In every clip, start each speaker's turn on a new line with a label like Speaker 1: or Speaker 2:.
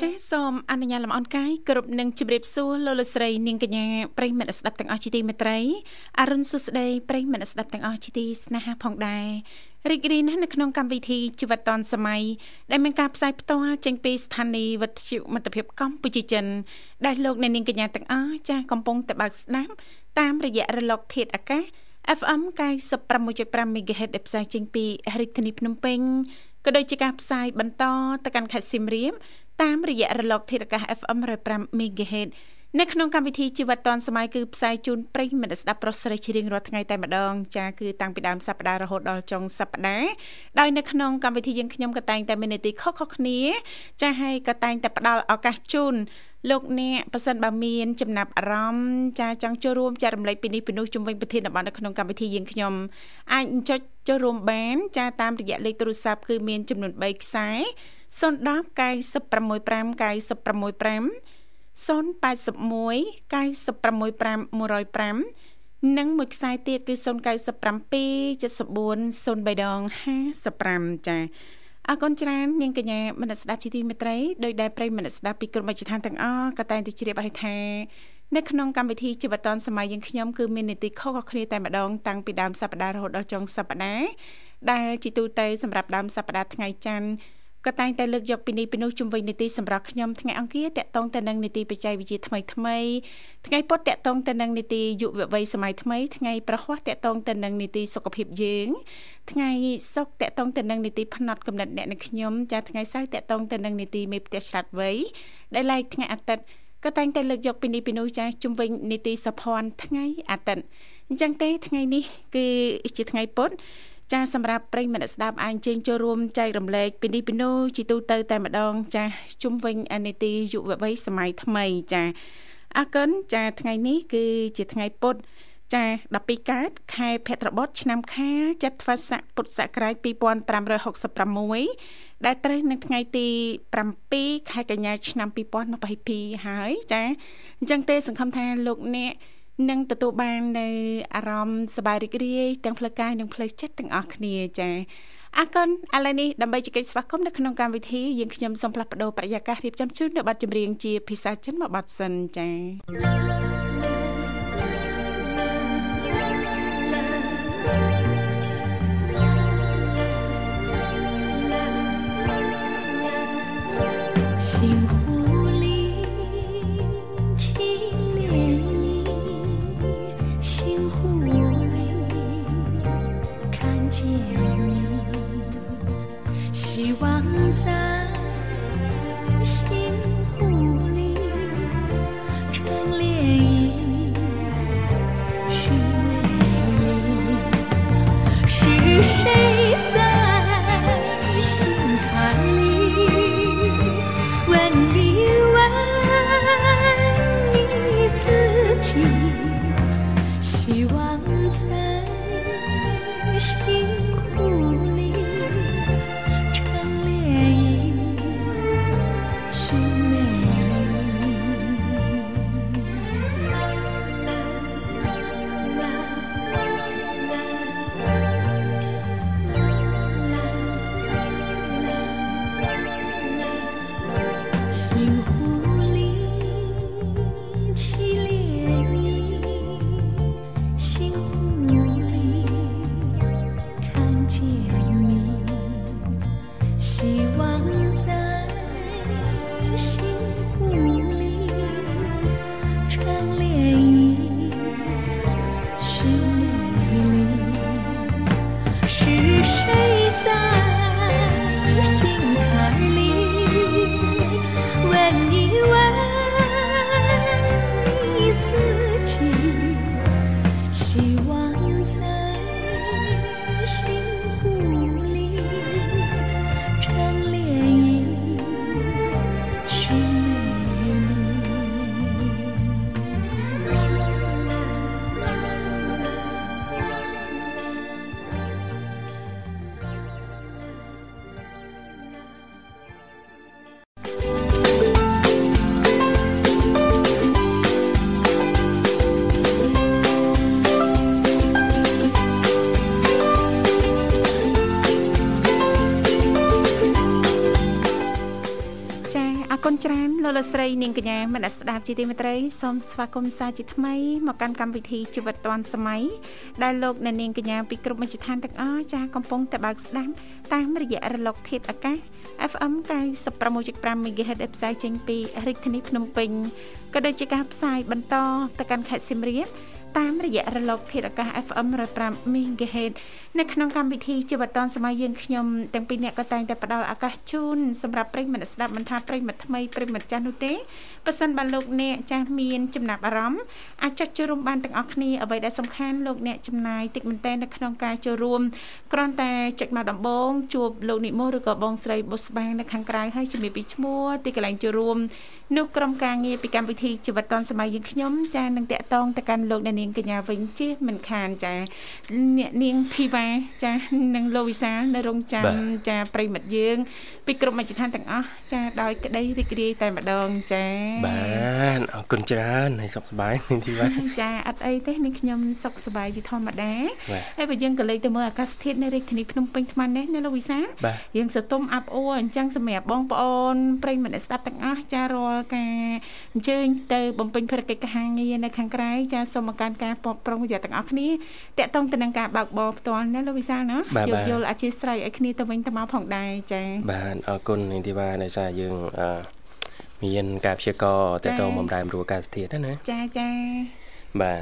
Speaker 1: ចាសសូមអនុញ្ញាតលំអរកាយគ្រប់នឹងជម្រាបសួរលោកលកស្រីនាងកញ្ញាប្រិយមិត្តអ្នកស្ដាប់ទាំងអស់ជាទីមេត្រីអរុនសុស្ដីប្រិយមិត្តអ្នកស្ដាប់ទាំងអស់ជាទីស្នេហាផងដែររីករាយណាស់នៅក្នុងកម្មវិធីជីវិតឌွန်សម័យដែលមានការផ្សាយផ្ទាល់ចេញពីស្ថានីយ៍វិទ្យុមិត្តភាពកម្ពុជាចិនដែលលោកអ្នកនាងកញ្ញាទាំងអស់ចាសកំពុងតែបើកស្ដាប់តាមរយៈរលកធាតុអាកាស FM 96.5 MHz ដែលផ្សាយចេញពីរាជធានីភ្នំពេញក៏ដូចជាការផ្សាយបន្តទៅកាន់ខេត្តសៀមរាបតាមរយៈរលកធាតុអាកាស FM 105 MHz នៅក្នុងកម្មវិធីជីវិតឌွန်សម័យគឺផ្សាយជូនប្រិយមិត្តអ្នកស្ដាប់ប្រុសស្រីជារៀងរាល់ថ្ងៃតែម្ដងចាគឺតាំងពីដើមសប្ដាហ៍រហូតដល់ចុងសប្ដាហ៍ដោយនៅក្នុងកម្មវិធីយើងខ្ញុំក៏តែងតែមាននីតិខុសៗគ្នា ចាហើយក៏តែងតែផ្ដល់ឱកាសជូនលោកអ្នកប៉ះសិនបើមានចំណាប់អារម្មណ៍ចាចង់ចូលរួមចែករំលែកពីនេះពីនោះជំវិញប្រធានបទនៅក្នុងកម្មវិធីយើងខ្ញុំអាចចុចចូលរួមបានចាតាមរយៈលេខទូរស័ព្ទគឺមានចំនួន3ខ្សែ010 965 965 081965105និងមួយខ្សែទៀតគឺ0977403055ចា៎អរគុណច្រើននាងកញ្ញាមនស្សស្ដាប់ជីទីមេត្រីដោយដែលប្រិយមនស្សស្ដាប់ពីក្រុមវិជ្ជាឋានទាំងអស់ក៏តែងតែជ្រាបឲ្យថានៅក្នុងកម្មវិធីជីវិតឌុនសម័យយើងខ្ញុំគឺមាននីតិខុសៗគ្នាតែម្ដងតាំងពីដើមសប្ដាហ៍រហូតដល់ចុងសប្ដាហ៍ដែលជាទូទៅសម្រាប់ដើមសប្ដាហ៍ថ្ងៃច័ន្ទក៏តែងតែលើកយកពីនេះពីនោះជំវិញនីតិសម្រាប់ខ្ញុំថ្ងៃអង្គារតកតងទៅនឹងនីតិបច្ចេកវិទ្យាថ្មីថ្មីថ្ងៃពុធតកតងទៅនឹងនីតិយុវវ័យសម័យថ្មីថ្ងៃប្រហ័សតកតងទៅនឹងនីតិសុខភាពយើង ថ្ងៃសុក្រតកតងទៅនឹងនីតិផ្នត់កំណត់អ្នកនិងខ្ញុំចាថ្ងៃសៅរ៍តកតងទៅនឹងនីតិមេផ្ទះឆ្លាតវៃដែលឡែកថ្ងៃអាទិត្យក៏តែងតែលើកយកពីនេះពីនោះចាជំវិញនីតិសុភ័ណ្ឌថ្ងៃអាទិត្យអញ្ចឹងទេថ្ងៃនេះគឺជាថ្ងៃពុធចាសម្រាប់ប្រិយមិត្តអ្នកស្ដាប់អាចជើញចូលរួមចែករំលែកពីនេះពីនោះជីទូទៅតែម្ដង ចាជុំវិញអានីតិយុវវ័យសម័យថ្មីចាអរគុណចាថ្ងៃនេះគឺជាថ្ងៃពុទ្ធចា12កើតខែភទ្របទឆ្នាំខាលចត្វាស័កពុទ្ធសករាជ2566ដែលត្រូវនៅថ្ងៃទី7ខែកញ្ញាឆ្នាំ2022ហើយចាអញ្ចឹងទេសង្ឃឹមថាលោកអ្នកនឹងទទួលបាននៅអារម្មណ៍សប្បាយរីករាយទាំងផ្លូវកាយនិងផ្លូវចិត្តទាំងអស់គ្នាចា៎អរគុណឥឡូវនេះដើម្បីជែកស្វាគមន៍នៅក្នុងកម្មវិធីយើងខ្ញុំសូមផ្លាស់ប្ដូរប្រយាកររៀបចំជូននៅប័ណ្ណចម្រៀងជាភាសាចិនមួយប័ណ្ណសិនចា៎
Speaker 2: 心湖里起涟漪。
Speaker 1: លោកស្រីនាងកញ្ញាមនស្សស្ដាប់ជាទីមេត្រីសូមស្វាគមន៍សាជាថ្មីមកកាន់កម្មវិធីជីវិតឌွန်សម័យដែលលោកអ្នកនាងកញ្ញាពីគ្រប់មជ្ឈដ្ឋានទាំងអស់ចាស់កំពុងតែបើកស្ដាប់តាមរយៈរលកធាតុអាកាស FM 96.5 MHz ដែលផ្សាយចេញពីរាជធានីភ្នំពេញក៏ដូចជាការផ្សាយបន្តទៅកាន់ខេត្តសៀមរាបតាមរយៈរលកធាតុអាកាស FM 105 MHz នៅក្នុងកម្មវិធីជីវិតឌុនសម័យយើងខ្ញុំទាំងពីរអ្នកក៏តែងតែផ្ដល់ឱកាសជូនសម្រាប់ប្រិយមិត្តស្ដាប់មិនថាប្រិយមិត្តថ្មីប្រិយមិត្តចាស់នោះទេប៉ះសិនបើលោកអ្នកចាស់មានចំណាប់អារម្មណ៍អាចចុចចូលរួមបានទាំងអស់គ្នាអ្វីដែលសំខាន់លោកអ្នកចំណាយតិចមែនតើនៅក្នុងការចូលរួមគ្រាន់តែចុចមកដំបងជួបលោកនិមលឬក៏បងស្រីបុស្បានៅខាងក្រៅហើយជំរាបពីឈ្មោះទីកន្លែងចូលរួម នោះក្រុមការងារពីកម្មវិធីជីវិតឌុនសម័យយើងខ្ញុំចានឹងតាក់ទងទៅកាន់លោកអ្នកនាងកញ្ញាវិញជិះមិនខានចាអ្នកនាងធីវ៉ាចានិងលោកវិសាលនៅរងចាំ
Speaker 3: បាទ
Speaker 1: ចាប្រិមិត្តយើង ពីក្រុមមជ្ឈដ្ឋានទាំងអស់ចាដោយក្តីរីករាយតែម្ដងចា
Speaker 3: បានអរគុណច្រើនហើយសុខសប្បាយនាងធីវ៉ា
Speaker 1: ចាអត់អីទេនាងខ្ញុំសុខសប្បាយជាធម្មតា
Speaker 3: បាទ
Speaker 1: ហើយបើយើងក៏លេចទៅមើលអាកាសធាតុនៅរាជធានីភ្នំពេញថ្មនេះណាលោកវិសាល
Speaker 3: បាទ
Speaker 1: យើងសតុំអាប់អួរអញ្ចឹងសម្រាប់បងប្អូនប្រិយមិត្តអ្នកស្ដាប់ទាំងអស់ចារាល់ការអញ្ជើញទៅបំពេញភារកិច្ចការងារនៅខាងក្រៅចាសូមមកកាន់ការពបប្រុងប្រយ័ត្នទាំងអស់គ្នាតាក់ទងទៅនឹងការបើកបរផ្ទាល់ណាលោកវិសាលណា
Speaker 3: បាទ
Speaker 1: យ
Speaker 3: បាទ
Speaker 1: ល់យល់អធិស្ស្រ័យឲ្យគ្នាទៅវិញទៅមកផងដែរចា៎
Speaker 3: បានអរគុណនាងធីវ៉ាដោយសារយើងអឺមានការព្យាករណ៍
Speaker 1: ចា៎
Speaker 3: តទៅបំរែបំរួលអាកាសធាតុហ្នឹងណា
Speaker 1: ចាចា
Speaker 3: បាទ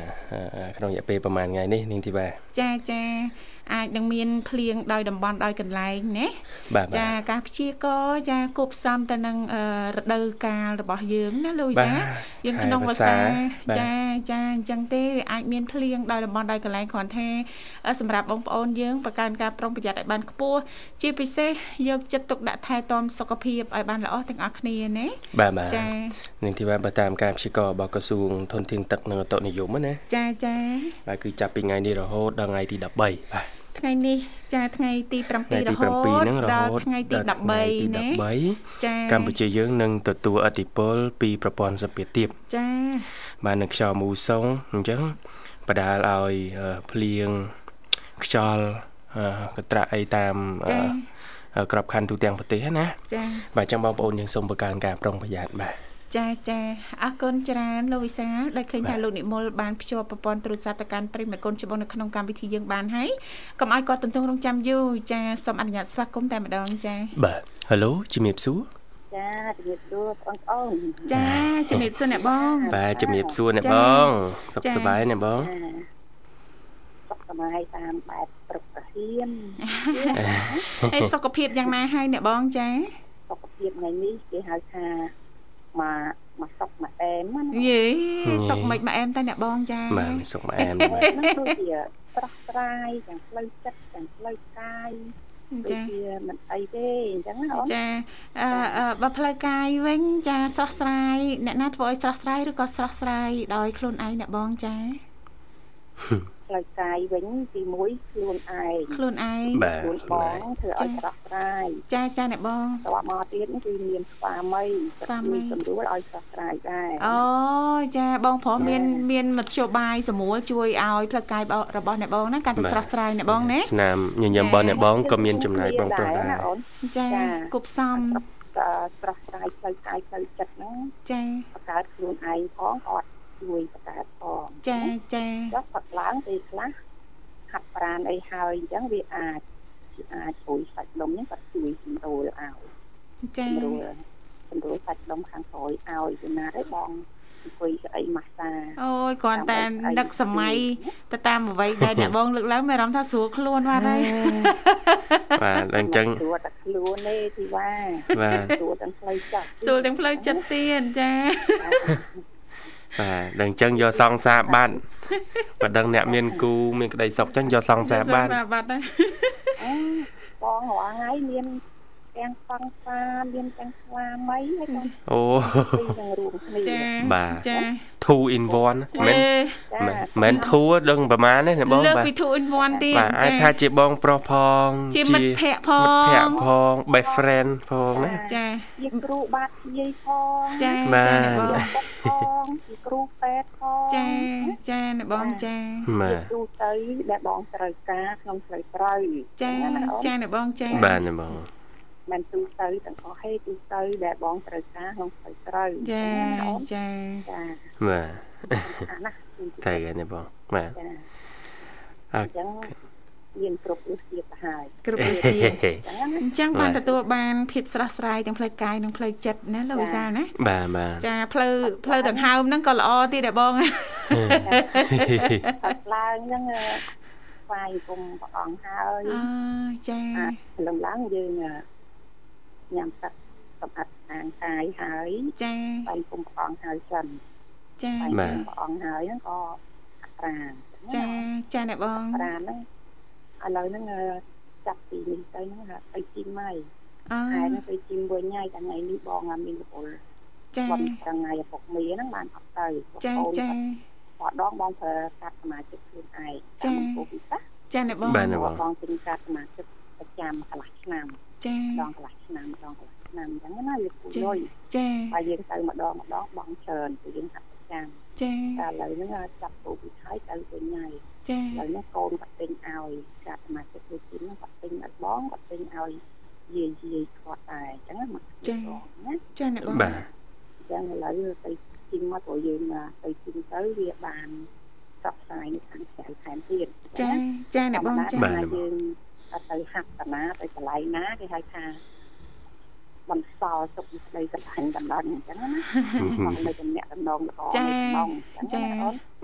Speaker 3: អឺក្នុងរយៈពេលប្រហែលថ្ងៃនេះនាងធីវ៉ា
Speaker 1: ចាចាអាចនឹងមានភ្លៀងដោយតំបន់ដោយកន្លែងណា
Speaker 3: បាទបាទ
Speaker 1: ចាការព្យាករណ៍ចាគប់ផ្សំទៅនឹងអឺរដូវកាលរបស់យើងណាលូយ
Speaker 3: បាទ
Speaker 1: សាយើង
Speaker 3: ខែ
Speaker 1: ក្នុងវ
Speaker 3: វស្សា
Speaker 1: ស្សា
Speaker 3: បាទ
Speaker 1: ចាចាអញ្ចឹងទេវាអាចមានភ្លៀងដោយតំបន់ដោយកន្លែងគ្រាន់តែអឺសម្រាប់បងប្អូនយើងប្រកាន់ការប្រុងប្រយ័ត្នឲ្យបានខ្ពស់ជាពិសេសយកចិត្តទុកដាក់ថែទាំសុខភាពឲ្យបានល្អទាំងអស់គ្នាណា
Speaker 3: បាទបាទ
Speaker 1: ចា
Speaker 3: នាងធីវ៉ាបើតាមការព្យាករណ៍របស់ក្រសួងធនធានទឹកនិងអតុនិយមហ្នឹងណា
Speaker 1: ចាចា
Speaker 3: បាទគឺចាប់ពីថ្ងៃនេះរហូតដល់ថ្ងៃទី13បាទ
Speaker 1: ថ្ងៃនេះចាថ្ងៃទី
Speaker 3: ថ្ងៃ
Speaker 1: 7រ
Speaker 3: ទី
Speaker 1: ហូត
Speaker 3: 7ហ្នឹងរហូ
Speaker 1: ដល់
Speaker 3: ត
Speaker 1: ថ្ងៃទី
Speaker 3: ដល់ថ្ងៃទី
Speaker 1: 13ណា
Speaker 3: 13
Speaker 1: ចា
Speaker 3: កម្ពុជាយើងនឹងទទួលឥទ្ធិពលពីប្រព័ន្ធសព្វាធៀប
Speaker 1: ចា
Speaker 3: បាននឹងខ្យល់មូសុងអញ្ចឹងបដាលឲ្យអឺភ្លៀងខ្យល់អឺកន្ត្រាក់អីតាមអឺ
Speaker 1: ចា
Speaker 3: អឺក្របខ័ណ្ឌទូទាំងប្រទេសហ្នឹងណា
Speaker 1: ចា
Speaker 3: បាទអញ្ចឹងបងប្អូនយើងសូមបង្កើនការប្រុងប្រយ័ត្នបាទ
Speaker 1: ចាចាអរគុណច្រើនលោកវិសាលដែលឃើញ
Speaker 3: បាទ
Speaker 1: ថាលោកនិមលបានភ្ជាប់ប្រព័ន្ធទូរស័ព្ទទៅកាន់ប្រិមត្តកូនច្បងនៅក្នុងកម្មវិធីយើងបានហើយកុំឲ្យគាត់ទន្ទឹងរង់ចាំយូរចាសូមអនុញ្ញាតស្វាគមន៍តែម្ដងចា
Speaker 3: បាទ Halo ជំរាបសួរ
Speaker 4: ចាជំរាបសួរបងប្អូន
Speaker 1: ចាជំរាបសួរអ្នកបង
Speaker 3: បាទជំរាបសួរអ្នក
Speaker 1: ចា
Speaker 3: បងសុខ
Speaker 1: ចា
Speaker 3: សប្បាយអ្នកបង
Speaker 4: ចាសុខសប្បាយតាមបែបប្រកហៀម
Speaker 1: ហើយសុខភាពយ៉ាងណាហើយអ្នកបងចា
Speaker 4: សុខភាពថ្ងៃនេះគេហៅថាមកមកសុខមកអែមហ្នឹង
Speaker 1: យេសុខមិនមកអែមតែអ្នកបងចា
Speaker 3: បាទមានសុខមកអែមបាទ
Speaker 4: ហ្នឹងដូចជាស្រស់ស្រាយទាំងផ្លូវចិត្តទាំងផ្លូវកាយដូច
Speaker 1: ចា
Speaker 4: ជាមិនអីទេអញ្ចឹងណាអូន
Speaker 1: ចាអឺអឺបើផ្លូវកាយវិញចាស្រស់ស្រាយអ្នកណាធ្វើឲ្យស្រស់ស្រាយឬក៏ស្រស់ស្រាយដោយខ្លួនឯងអ្នកបងចា
Speaker 4: ផ្លូវកាយវិញទីមួយខ្លួនឯង
Speaker 1: ខ្លួនឯង
Speaker 3: បាទ
Speaker 4: ខ្លួន
Speaker 3: ខ្លួន
Speaker 4: ប
Speaker 3: ឯ
Speaker 4: ង
Speaker 3: ង
Speaker 4: ធ្វើឲ្យស្រស់ស្រាយ
Speaker 1: ចាចាអ្នកបង
Speaker 4: តោះមកទៀតនេះគឺមានស្វាមី
Speaker 1: ស្វាមី
Speaker 4: ជួយសម្រួលឲ្យស្រស់ស្រាយដែរ
Speaker 1: អូចាបងប្រុសមានមានមធ្យោបាយសម្រួលជួយឲ្យផ្លូវកាយរបស់អ្នកបងហ្នឹងកាន់តែស្រស់ស្រាយអ្នកបងណា
Speaker 3: ស្នាមញញឹមបងអ្នកបងក៏មានចំណាយបងប្រុសដែរ
Speaker 4: អូន
Speaker 1: ចាគប់សំ
Speaker 4: ក៏ស្រស់ស្រាយផ្លូវកាយផ្លូវចិត្តហ្នឹង
Speaker 1: ចា
Speaker 4: បង្កើតខ្លួនឯងផងអត់ជួយបង្កើតផង
Speaker 1: ចាចា
Speaker 4: ចុះផឹកឡើងពេលខ្លះហាត់ប្រានអីហើយអញ្ចឹងវាអាចវាអាចជួយសាច់ដុំហ្នឹងក៏ជួយសម្រួលឲ្យ
Speaker 1: ចា
Speaker 4: សម្រួលសម្រួលសាច់ដុំខាងក្រោយឲ្យពីណាទៅបងអង្គុយស្អីម៉ាស្សា
Speaker 1: អូយគ្រាន់តែនឹកសម័យទៅតាមអ្វីដែលអ្នកបងលើកឡើងមានអារម្មណ៍ថាស្រួលខ្លួនបាទហើយ
Speaker 3: បាទអញ្ចឹង
Speaker 4: ស្រួលតែខ្លួនទេទីវ៉ា
Speaker 3: បាទ
Speaker 4: ស្រួលទាំងផ្លូវចិត្ត
Speaker 1: ស្រួលទាំងផ្លូវចិត្តទៀតចា
Speaker 3: បាទដល់អញ្ចឹងយកសង្សារបាត់បើដឹងអ្នកមានគូមានក្តីសុខអញ្ចឹងយកសង្សារបាត់
Speaker 1: សាបាត់ណា
Speaker 4: អឺបងរាល់ថ្ងៃមានទាំងសង្សារមានទាំងស្វាមីហើយទាំង
Speaker 3: អូ
Speaker 4: ពីរនឹងរួមគ្នា
Speaker 1: ចា
Speaker 3: បាទ
Speaker 1: ចា
Speaker 3: 2 in 1មែន
Speaker 1: អេ
Speaker 3: មែនមែនធូដឹងប្រហែលទេអ្នកបង
Speaker 1: លើក
Speaker 3: បាទ
Speaker 1: ពី two in one ទៀត
Speaker 3: បាទអាចថាជាបងប្រុសផង
Speaker 1: ជាមិត្តភ័ក្តិផ
Speaker 3: មិត្តភ័
Speaker 1: ង
Speaker 3: ក្តិផង best friend ផងណា
Speaker 1: ចា
Speaker 4: ជាគ្រូបាធ្យាយផង
Speaker 1: ចា
Speaker 3: បា
Speaker 1: ចា
Speaker 3: ទ
Speaker 1: អ្នកបង
Speaker 4: បុកផងជាគ្រូពេទ្យផង
Speaker 1: ចាចាអ្នកបងចា
Speaker 3: បា
Speaker 4: ជា
Speaker 3: ទ
Speaker 4: គ្រូទៅដែលបងត្រូវការក្នុងផ្លូវត្រូវ
Speaker 1: ចា
Speaker 4: អញ្ងណាអូន
Speaker 1: ចាអ្នកបងចា
Speaker 3: បាទអ្នកបង
Speaker 4: មិនទូទៅទាំងអស់ហេតុទូទៅដែលបងត្រូវការក្នុងស្រីត្រូវ
Speaker 1: ចាចា
Speaker 4: ចា
Speaker 3: បាទ
Speaker 4: អាណាស់
Speaker 3: តែគេនេះបងបាទ
Speaker 4: ចា
Speaker 3: អ
Speaker 4: អ ញ្ចឹងមានគ្រប់ឧបទាបហើយ
Speaker 1: គ្រប់វិ
Speaker 3: ឺ
Speaker 1: ធី អញ្ចឹងបានទទួលបានភាពស្រស់ស្រាយទាំងផ្លូវកាយនិងផ្លូវចិត្តណាលោក
Speaker 4: ចា
Speaker 1: វិសាលណា
Speaker 3: បាទបាទ
Speaker 1: ចាផ្លូវផ្លូវដង្ហើមហ្នឹងក៏ល្អទៀតដែរបង
Speaker 4: អត់ឡើងហ្នឹងអឺស្វាយគុំព្រះអង្គហើយ
Speaker 1: អឺចា
Speaker 4: អាព្រលឹមឡើងយើងអឺញ៉ាំទឹកសម្អាតអាងកាយហើយ
Speaker 1: ចា
Speaker 4: ស្វាយគុំព្រះអង្គហើយសិន
Speaker 1: ចា
Speaker 4: ស្វាយ
Speaker 3: បាទ
Speaker 4: គុំព្រះអង្គហើយហ្នឹងក៏អត្រាណ
Speaker 1: ចាចាអ្នកបង
Speaker 4: អត្រាណហ្នឹងឥឡូវហ្នឹងអឺចាប់ពីនេះទៅហ្នឹងហ่ะទៅជីមហើយ
Speaker 1: អឺ
Speaker 4: ហើយហ្នឹងទៅជីមវិញហើយតែថ្ងៃនេះបងអាមានរបុល
Speaker 1: ចា
Speaker 4: បងថ្ងៃឪពុកមីហ្នឹងបានអត់ទៅបង
Speaker 1: ចា
Speaker 4: ប្អូន
Speaker 1: ចា
Speaker 4: គាត់ដងបងប្រើកាត់សមាជិកខ្លួនឯង
Speaker 1: ចា
Speaker 4: តាមពុកពិសាស
Speaker 1: ចាអ្នកបង
Speaker 3: បាទ
Speaker 4: បងបងពេញការសមាជិកប្រចាំកន្លះឆ្នាំ
Speaker 1: ចា
Speaker 4: ដងកន្លះឆ្នាំដងកន្លះឆ្នាំអញ្ចឹងណាលោកពូលុយ
Speaker 1: ចា
Speaker 4: ហើយយើងទៅម្ដងម្ដងបងច្រើនពីយើងហាត់ប្រចាំ
Speaker 1: ចា
Speaker 4: តែឥឡូវហ្នឹងចាប់ពូវិថយទៅវិញហើយ
Speaker 1: ចា
Speaker 4: ឥឡូវហ្នឹងកូនគាត់ពេញឲ្យការសមាជិកដូចជាហ្នឹងគាត់ពេញឲ្យបងគាត់ពេញឲ្យយាយយាយគាត់ដែរអញ្ចឹងណាមកណាអ
Speaker 1: ចាអ្នកបង
Speaker 3: បាទ
Speaker 4: ញ្ចឹងឥឡូវទៅជីមមកព្រោះយើងទៅជីមទៅវាបានផ្សព្វផ្សាយនៅខាងក្រៅថែមទៀតអ
Speaker 1: ចា
Speaker 4: ញ្ង
Speaker 1: ចាអ្នកបងចា
Speaker 4: ធម្មតាយើងទៅហាត់តាណាទៅកន្លែងណាគេហៅថាបន្សល់ទុកស្ដីកន្លែងកណ្ដឹងអញ្ចឹងណាមកនៅតំណាក់តំណងល្អក្នុងអញ្ចឹងណា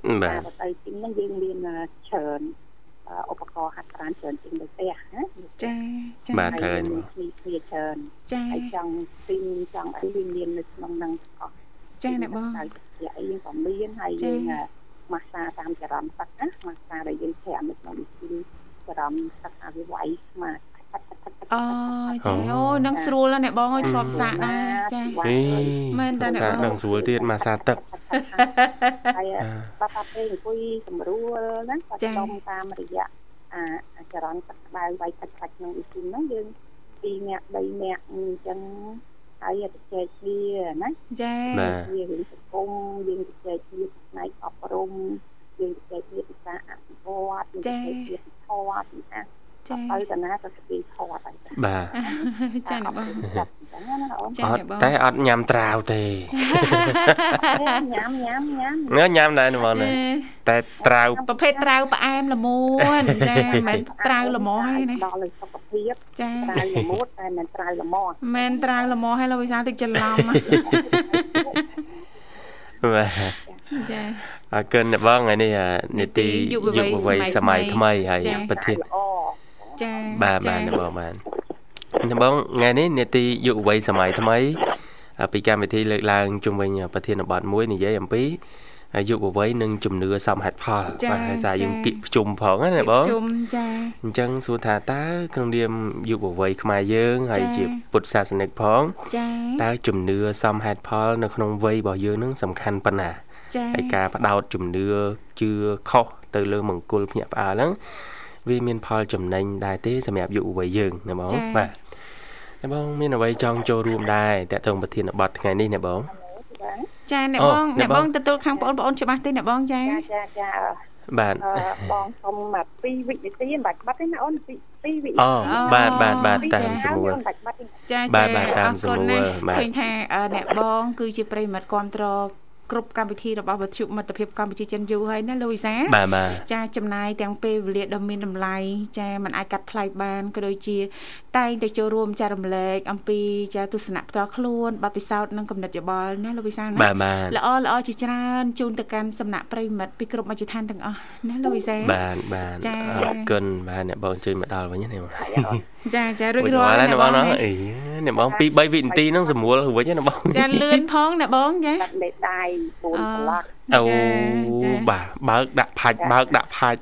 Speaker 4: អូន
Speaker 3: បាទ
Speaker 4: តែទៅទីនេះយើងមានច្រើនឧបករណ៍ហាត់ប្រាណច្រើនជាងនៅផ្ទះណា
Speaker 1: ចាចា
Speaker 3: បាទត្រូវហើយបង
Speaker 4: គ្នាគ្នាច្រើន
Speaker 1: ចា
Speaker 4: ហើយចង់ទីនចង់អីវាមាននៅក្នុងនឹងអស់
Speaker 1: ចាអ្នកបង
Speaker 4: ហើយជាអីយើងក៏មានហើយយើងម៉ាស្សាតាមចរន្តទឹកណាម៉ាស្សាដែលយើងប្រាំនៅក្នុងទីចរន្តទឹកអវិវ័យស្មាត
Speaker 1: អូចាអូនឹងស្រួលណាស់អ្នកបងអើយធ្លាប់សាកដែរចា
Speaker 3: ហេ
Speaker 1: មែនតើអ្នកបង
Speaker 3: សាដឹងស្រួលទៀតមកសាទឹក
Speaker 4: ហើយ
Speaker 3: អ่า
Speaker 4: បាត់បាត់ពេលអង្គុយសម្រួលណាបាត់
Speaker 1: ចា៎
Speaker 4: ចំតាមរយៈអាអាចរន្តទឹកក្តៅវាយទឹកខ្លាច់ក្នុងអ៊ីស៊ីមហ្នឹងយើង2នាក់3នាក់អញ្ចឹងហើយអាចចែកគ្នាណា
Speaker 1: ចា
Speaker 3: បាទ
Speaker 4: វារឿងសង្គមយើងចែកគ្នាផ្នែកអប់រំយើងចែកគ្នាពីការអភិវឌ្ឍយើងចែកគ្នាពីធម៌ពីអស
Speaker 1: ចា
Speaker 4: ទៅតាណាក៏ស្ទីធម៌ដែរ
Speaker 3: បា
Speaker 4: ចា
Speaker 3: ទ
Speaker 1: ចាអ្នកបង
Speaker 4: អត់អញ្ចឹងណាអូន
Speaker 1: ចា
Speaker 3: អ
Speaker 1: អ្នក
Speaker 3: ត់
Speaker 1: បង
Speaker 3: តែអត់ញ៉ាំត្រាវទេ
Speaker 4: ញ៉ាំញ៉ាំញ៉ាំ
Speaker 3: ងើញ៉ាំដែរបងណាតែត្រាវ
Speaker 1: ប្រភេទត្រាវផ្អែមល្មួនចាមិនមែនត្រាវល្មោះទេណា
Speaker 4: ដល់លើសុខភាព
Speaker 1: ចា
Speaker 4: ត្រាវល្មួតតែមិនត្រាវល្មោះ
Speaker 1: មែនត្រាវល្មោះហើយលោកវិសាលទឹកច្រឡំ
Speaker 3: បាទ
Speaker 1: ចា
Speaker 3: អរគុណអ្នកបងថ្ងៃនេះអានេតិ
Speaker 1: យុ
Speaker 3: យុវ
Speaker 1: វវ័យ
Speaker 3: វ័យ
Speaker 1: សម័យ
Speaker 3: សម័យ
Speaker 1: ថ្មី
Speaker 3: ថ្មីហើយ
Speaker 1: ចា៎
Speaker 3: ប្រធាន
Speaker 4: ល្អ
Speaker 1: ចា
Speaker 3: បាទបាទអ្នកបងបាទអ្នកបងថ្ងៃនេះនេតិយុវវ័យសម័យថ្មីអាពីកម្មវិធីលើកឡើងជំវិញប្រធានបទមួយនិយាយអំពីអាយុវវ័យនិងជំនឿសមហេតុផលបាទហើយថាយើងគិតប្រជុំផងណាអ្នកបង
Speaker 1: ជុំចា
Speaker 3: អញ្ចឹងសួរថាតើក្នុងនាមយុវវ័យខ្មែរយើងហើយ
Speaker 1: ចា៎
Speaker 3: ជាពុទ្ធសាសនិកផង
Speaker 1: ចា
Speaker 3: តើជំនឿសមហេតុផលនៅក្នុងវ័យរបស់យើងនឹងសំខាន់ប៉ុណ្ណា
Speaker 1: ចា
Speaker 3: ហើយការបដោតជំនឿជឿខុសទៅលើមង្គលភ្នាក់ផ្អើលហ្នឹងវាមានផលចំណេញដែរទេសម្រាប់យុវវ័យយើងណាបងបាទណាបងមានអ្វីចង់ចូលរួមដែរតើតើប្រធានបទថ្ងៃនេះណាបង
Speaker 4: ចា
Speaker 1: ចាអ្នក
Speaker 3: អូ
Speaker 1: បង
Speaker 3: អ្នក
Speaker 1: អ្នកប
Speaker 3: បង ង
Speaker 1: ទទួលខាងបងប្អូនច្បាស់ទេអ្នកបងចា
Speaker 4: ចាចាចា
Speaker 3: បាទ
Speaker 4: អឺបងសុំមក2វិនាទីបាច់បាត់ទេណាអូន2វិនា
Speaker 3: អូបាទបាទបាទ
Speaker 4: ទី
Speaker 3: តាមស្រួល
Speaker 4: បាច់បាត់ទេ
Speaker 1: ចា
Speaker 3: បាទ
Speaker 1: ចា
Speaker 3: បាទតាមសម្រួលបាទ
Speaker 1: ឃើញថាអឺអ្នកបងគឺជាប្រិយមិត្តគ្រប់ត្រគ្រប់កម្មវិធីរបស់វិទ្យុមិត្តភាពកម្ពុជាចិនយូរហើយណាលូវីសា
Speaker 3: បាទបាទ
Speaker 1: ចាចំណាយទាំងពេលវេលាដ៏មានតម្លៃចាมันអាចកាត់ថ្លៃបានក៏ដូចជាតែងតែចូលរួមចារំលែកអំពីចាទស្សនៈផ្ទាល់ខ្លួនបទពិសោធន៍និងគំនិតយោបល់ណាលូវីសាណា
Speaker 3: បាទបាទ
Speaker 1: ល្អល្អជាច្រើនជូនទៅកាន់សំណាក់ប្រិយមិត្តពីគ្រប់មជ្ឈដ្ឋានទាំងអស់ណាលូវីសា
Speaker 3: បាទបាទ
Speaker 1: ចា៎
Speaker 3: អរគុណបាទអ្នកបងជួយមកដល់វិញណាបង
Speaker 1: ចាចារួច
Speaker 3: រួច
Speaker 1: រា
Speaker 3: រា
Speaker 1: ល់
Speaker 3: ល់ហើយ
Speaker 1: អ្នក
Speaker 3: ណា
Speaker 1: ប
Speaker 3: បង ងណា
Speaker 1: ណា
Speaker 3: អីអ្នកបង2 3វិនាទីហ្នឹងសម្រួលរួចហើយណាបង
Speaker 1: ចាលឿនផងអ្នកបងចា
Speaker 4: បាត់លេខដៃ4ប្លុក
Speaker 3: អូ
Speaker 1: ចា
Speaker 3: បាទបើកដាក់ផាច់បើកដាក់ផាច់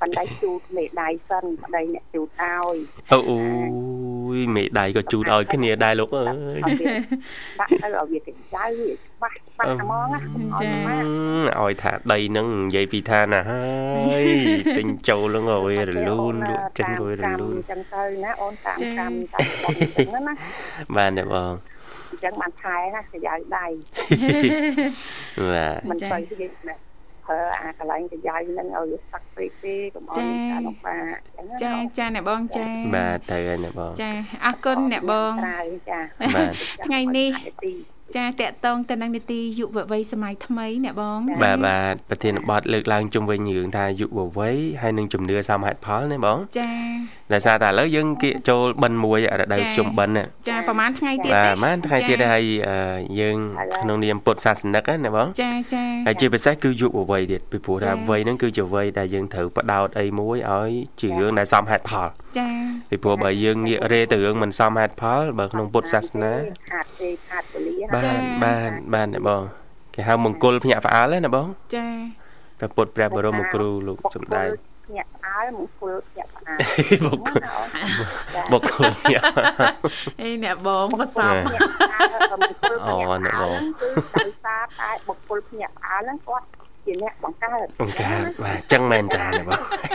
Speaker 4: បណ្ដៃជូតលេខដៃសិនបណ្ដៃអ្នកជូតឲ្យ
Speaker 3: អូអូយមេដៃក៏ជូតឲ្យគ្នាដែរលោកអើយ
Speaker 4: ដាក់ទៅឲ្យវាទៅដៅវាច្បាស់ច្បាស់ហ្មងណា
Speaker 3: ឲ្យថាដៃហ្នឹងនិយាយពីថាណាហើយទិញចូលហ្នឹងអើយរលូនលក់ចិនអើយរលូន
Speaker 4: អញ្ចឹងទៅណាអូនតាមកម្មតាមបងអញ្ចឹងណា
Speaker 3: បាទអ្នកបង
Speaker 4: អញ្ចឹងបានខែណាសយាយដៃ
Speaker 3: បាទ
Speaker 4: មិន
Speaker 1: ចា៎
Speaker 4: ស្អីទេណាខ ប្រើអាកន្លែងកញ្ញាយហ្នឹងឲ្យវាសឹកពេកទេកុំឲ្យ
Speaker 1: ចា៎
Speaker 4: ការលោកបាអញ្ចឹង
Speaker 1: ចា
Speaker 4: ណា
Speaker 1: ចាអ្នកបងចា
Speaker 3: បាទត្រូវហើយអ្នកបង
Speaker 1: ចាអរគុណអ្នកបង
Speaker 4: ក្រៅចា
Speaker 3: បាទ
Speaker 1: ថ្ងៃនេះ
Speaker 4: ចាំឲ្យទី
Speaker 1: ចាតកតងទៅនឹងនីតិយុវវ័យសម័យថ្មីអ្នកបង
Speaker 3: បាទបាទប្រធានបទលើកឡើងជុំវិញរឿងថាយុវវ័យហើយនឹងជំនឿសមហេតុផលណាបង
Speaker 1: ចា
Speaker 3: ដោយសារតែឥឡូវយើងគៀកចូលបិណ្ឌមួយរដូវ
Speaker 1: ចា៎
Speaker 3: ជុំបិណ្ឌណា
Speaker 1: ចាប្រហែលថ្ងៃទៀត
Speaker 3: បាទ
Speaker 1: ទេ
Speaker 3: ប្រហែលថ្ងៃ
Speaker 1: ចា៎
Speaker 3: ទៀតដែរហើយអឺយើងក្នុងនាមពុទ្ធសាសនិកណាបង
Speaker 1: ចាចា
Speaker 3: ហើយជាពិសេសគឺយុវវ័យទៀតពីព្រោះថា
Speaker 1: ចា៎
Speaker 3: វ័យហ្នឹងគឺជាវ័យដែលយើងត្រូវបដោតអីមួយឲ្យជារឿងដែលសមហេតុផល
Speaker 1: ចា
Speaker 3: ពីព្រោះបើយើងងាករេទៅរឿងមិនសមហេតុផលបើក្នុងពុទ្ធសាសនា
Speaker 4: ខាតទេខាតពលា
Speaker 3: បាទបាទបាទអ្នកបងគេហៅមង្គលភ្ញាក់ផ្អើលណាអ្នកបង
Speaker 1: ចា
Speaker 3: ព្រះពុទ្ធព្រះបរមគ្រូលោកសំដែង
Speaker 4: ញាក់អើលមង្គលញាក់អើល
Speaker 3: បុគ្គលបុគ្គលភ្ញាក់ ផ្អើល
Speaker 1: អីអ្នកបងក៏សព
Speaker 3: ចា៎
Speaker 4: មង្គល
Speaker 3: អូអ្នកបង
Speaker 4: គឺដោយសារតែបុគ្គលញាក់អើលហ្នឹងគាត់ជាអ្នកបង្កើត
Speaker 3: បង្កើតបាទអញ្ចឹងមែនតាអ្នកបង
Speaker 4: តែ